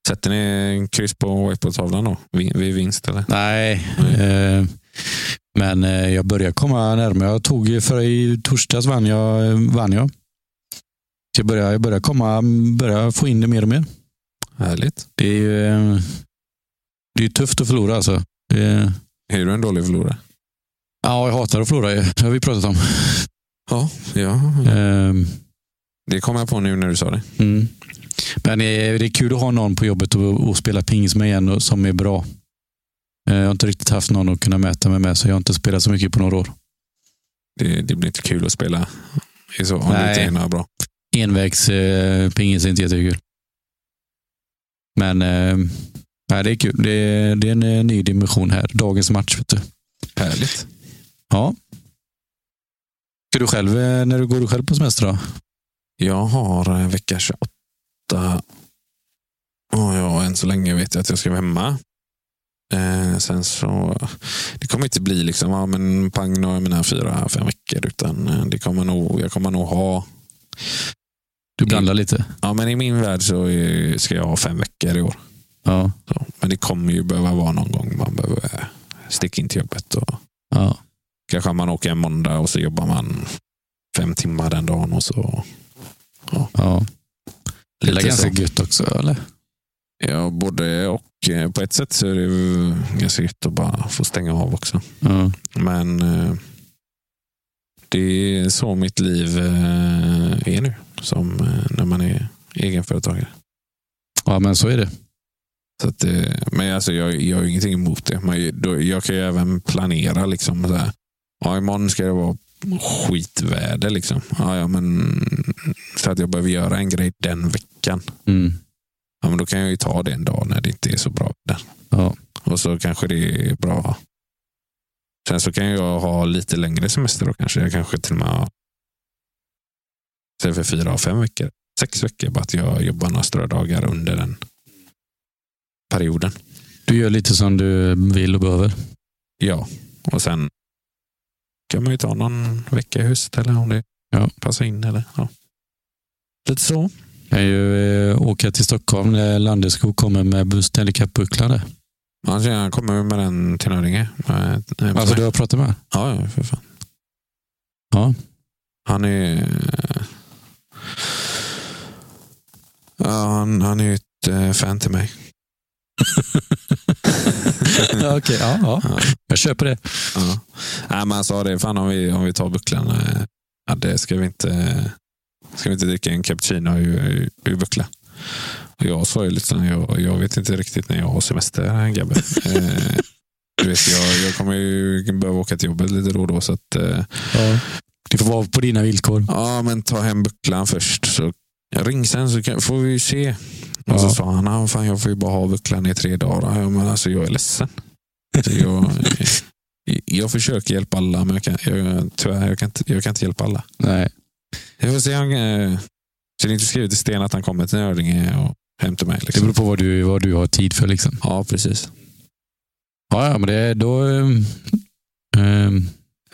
Sätter ni en kryss på whiteboardtavlan då? Vin- Vid vinst eller?
Nej, eh, men eh, jag börjar komma närmare. Jag tog ju- för i torsdags vann jag. eh, Vann jag. Så jag börjar, jag börjar komma, börjar få in det mer och mer.
Härligt.
Det är ju eh, det är ju tufft att förlora alltså. Det är,
Är du en dålig förlorare?
ja, jag hatar att förlora ju. Det har vi pratat om.
Ja. ja.
Eh,
Det kom jag på nu när du sa det.
Mm. Men det är, det är kul att ha någon på jobbet och, och spela pingis med igen och, som är bra. Eh, Jag har inte riktigt haft någon att kunna mäta mig med, så jag har inte spelat så mycket på några år.
Det, det blir inte kul att spela i så, om det inte
Nej.
är några bra.
Envägs eh, pingis är inte jättekul. Men eh, nej, det är kul. Det är, det är en eh, ny dimension här. Dagens match. Vet du.
Härligt.
Ja. Ska du själv, eh, när du går du själv på semester då?
Jag har eh, vecka 28. Och ja, än så länge vet jag att jag ska vara hemma. Eh, sen så, det kommer inte bli liksom, ja, men pang, nu har jag mina fyra, fem veckor. Utan eh, det kommer nog, jag kommer nog ha, Mm.
Du blandar lite?
ja men i min värld så är, ska jag ha fem veckor i år.
Ja.
Så, men det kommer ju behöva vara någon gång man behöver eh, sticka in till jobbet. Och,
ja.
kanske man åker en måndag och så jobbar man fem timmar den dagen och så.
ja. Det är
Lite
ganska
så.
gött också, eller?
Ja, både och. Eh, På ett sätt så är det ju ganska gött att bara få stänga av också.
Ja.
Men eh, det är så mitt liv eh, är nu. Som eh, när man är egenföretagare.
ja, men så är det.
Så att, eh, men alltså, jag, jag har ju ingenting emot det. Man, då, jag kan ju även planera. Liksom, så här. Ja, imorgon ska det vara skitväder. Liksom. Ja, ja, men, så att jag behöver göra en grej den veckan.
Mm.
Ja, men då kan jag ju ta det en dag när det inte är så bra väder.
Ja.
Och så kanske det är bra. Sen så kan jag ha lite längre semester då kanske. Jag kanske till och med har istället för fyra och fem veckor, sex veckor. Bara att jag jobbar några strödagar under den perioden.
Du gör lite som du vill och behöver.
Ja, och sen kan man ju ta någon vecka i höst eller om det
Ja.
passar in. Eller, ja. Lite så.
Jag kan ju eh, åka till Stockholm när Landeskog kommer med Stanley Cup-bucklan. där.
Annars jag kommer med den till Nöringe. Eh, eh,
Alltså, du har pratat med
Ja, ja, för fan.
Ja.
Han är... Ja, han, han är ju ett eh, fan till mig.
ja, Okej, ja, ja.
Ja.
Jag köper det.
Ja. Nej, men han sa det, fan om vi, om vi tar bucklan. eh, Ja, det ska vi inte ska vi inte dricka en cappuccino i, i, i buckla. Och jag sa ju lite såhär, jag, jag vet inte riktigt när jag har semester, Gabbe. eh, du vet, jag, jag kommer ju behöva åka till jobbet lite då och då. Så att, eh,
Ja. Det får vara på dina villkor.
ja, men ta hem bucklan först. Så, ring sen så kan, får vi ju se. Och så
Ja.
sa han, "Ah, fan, jag får ju bara ha bucklan i tre dagar. Ja, men alltså, jag är ledsen. Så jag, jag försöker hjälpa alla, men jag kan, jag, tyvärr, jag kan, inte, jag kan inte hjälpa alla.
Nej.
Jag får se om, eh, Så det är inte skrivet i sten att han kommer till Nördinge och hämtar mig.
Det
Liksom.
beror på vad du, vad du har tid för. Liksom.
Ja, precis.
Ja, ja, men det, då... ehm, ehm,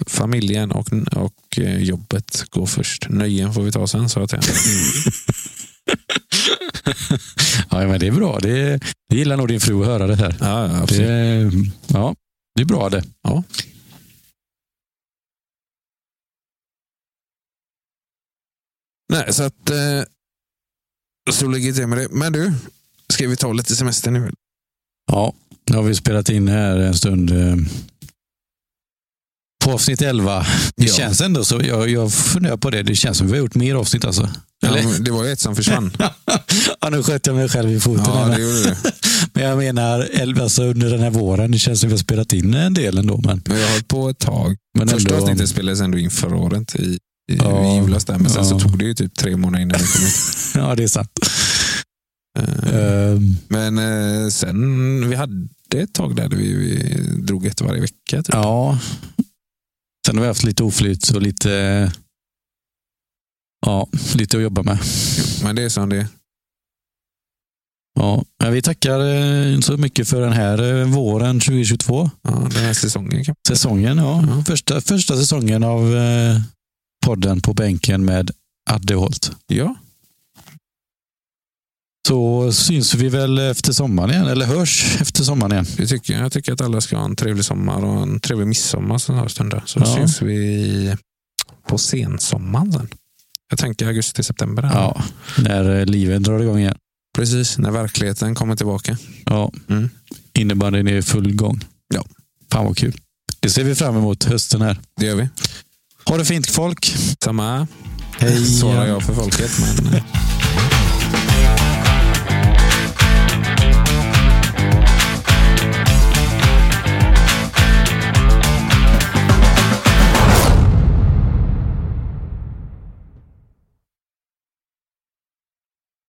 Familjen och, och eh, jobbet går först. Nöjen får vi ta sen, sa jag till honom.
ja, men det är bra. Det, det gillar nog din fru att höra det här.
Ja, ja, absolut.
Det, ja, det är bra det.
Ja. Nej, så att... Eh, så ligger det till med det. Men du, ska vi ta lite semester nu?
Ja, nu har vi spelat in här en stund. eh, På avsnitt 11. Det
Ja.
känns ändå så. Jag, jag funderar på det. Det känns som vi har gjort mer avsnitt alltså. Eller?
Ja, men det var ju ett som försvann.
Ja, nu sköt jag mig själv i foten.
ja,
här,
det gjorde du.
Men jag menar, elva, alltså, under den här våren, det känns som vi har spelat in en del ändå. Men,
Men jag har hållit på ett tag.
men
Första
ändå,
avsnittet spelades ändå in förra året i, i,
Ja.
i julas där, men sen så
Ja.
tog det ju typ tre månader innan vi kom ut.
Ja, det är sant.
Eh,
Ehm,
Men eh, sen, vi hade ett tag där vi, vi drog ett varje vecka. Typ.
ja. Sen har vi haft lite oflyt och lite, eh, ja, lite att jobba med.
Men det är som det är.
Ja, men vi tackar eh, så mycket för den här eh, våren 2022.
ja, den här säsongen. kan-
Säsongen, ja.
Ja.
Första, första säsongen av eh, podden på bänken med Adde Holt.
Ja,
Så syns vi väl efter sommaren igen, eller hörs efter sommaren igen.
det tycker jag. Jag tycker att alla ska ha en trevlig sommar och en trevlig midsommar snart. Så
Ja.
syns vi på sensommaren sen. Jag tänker augusti, september. där.
Ja, när eh, livet drar igång igen.
Precis, när verkligheten kommer tillbaka.
Ja.
Mm.
Innebandyn är i full gång.
Ja.
Fan vad kul. Det ser vi fram emot hösten här.
Det gör vi.
Ha det fint folk.
Samma
Hej.
svarar jag för folket. Men... eh,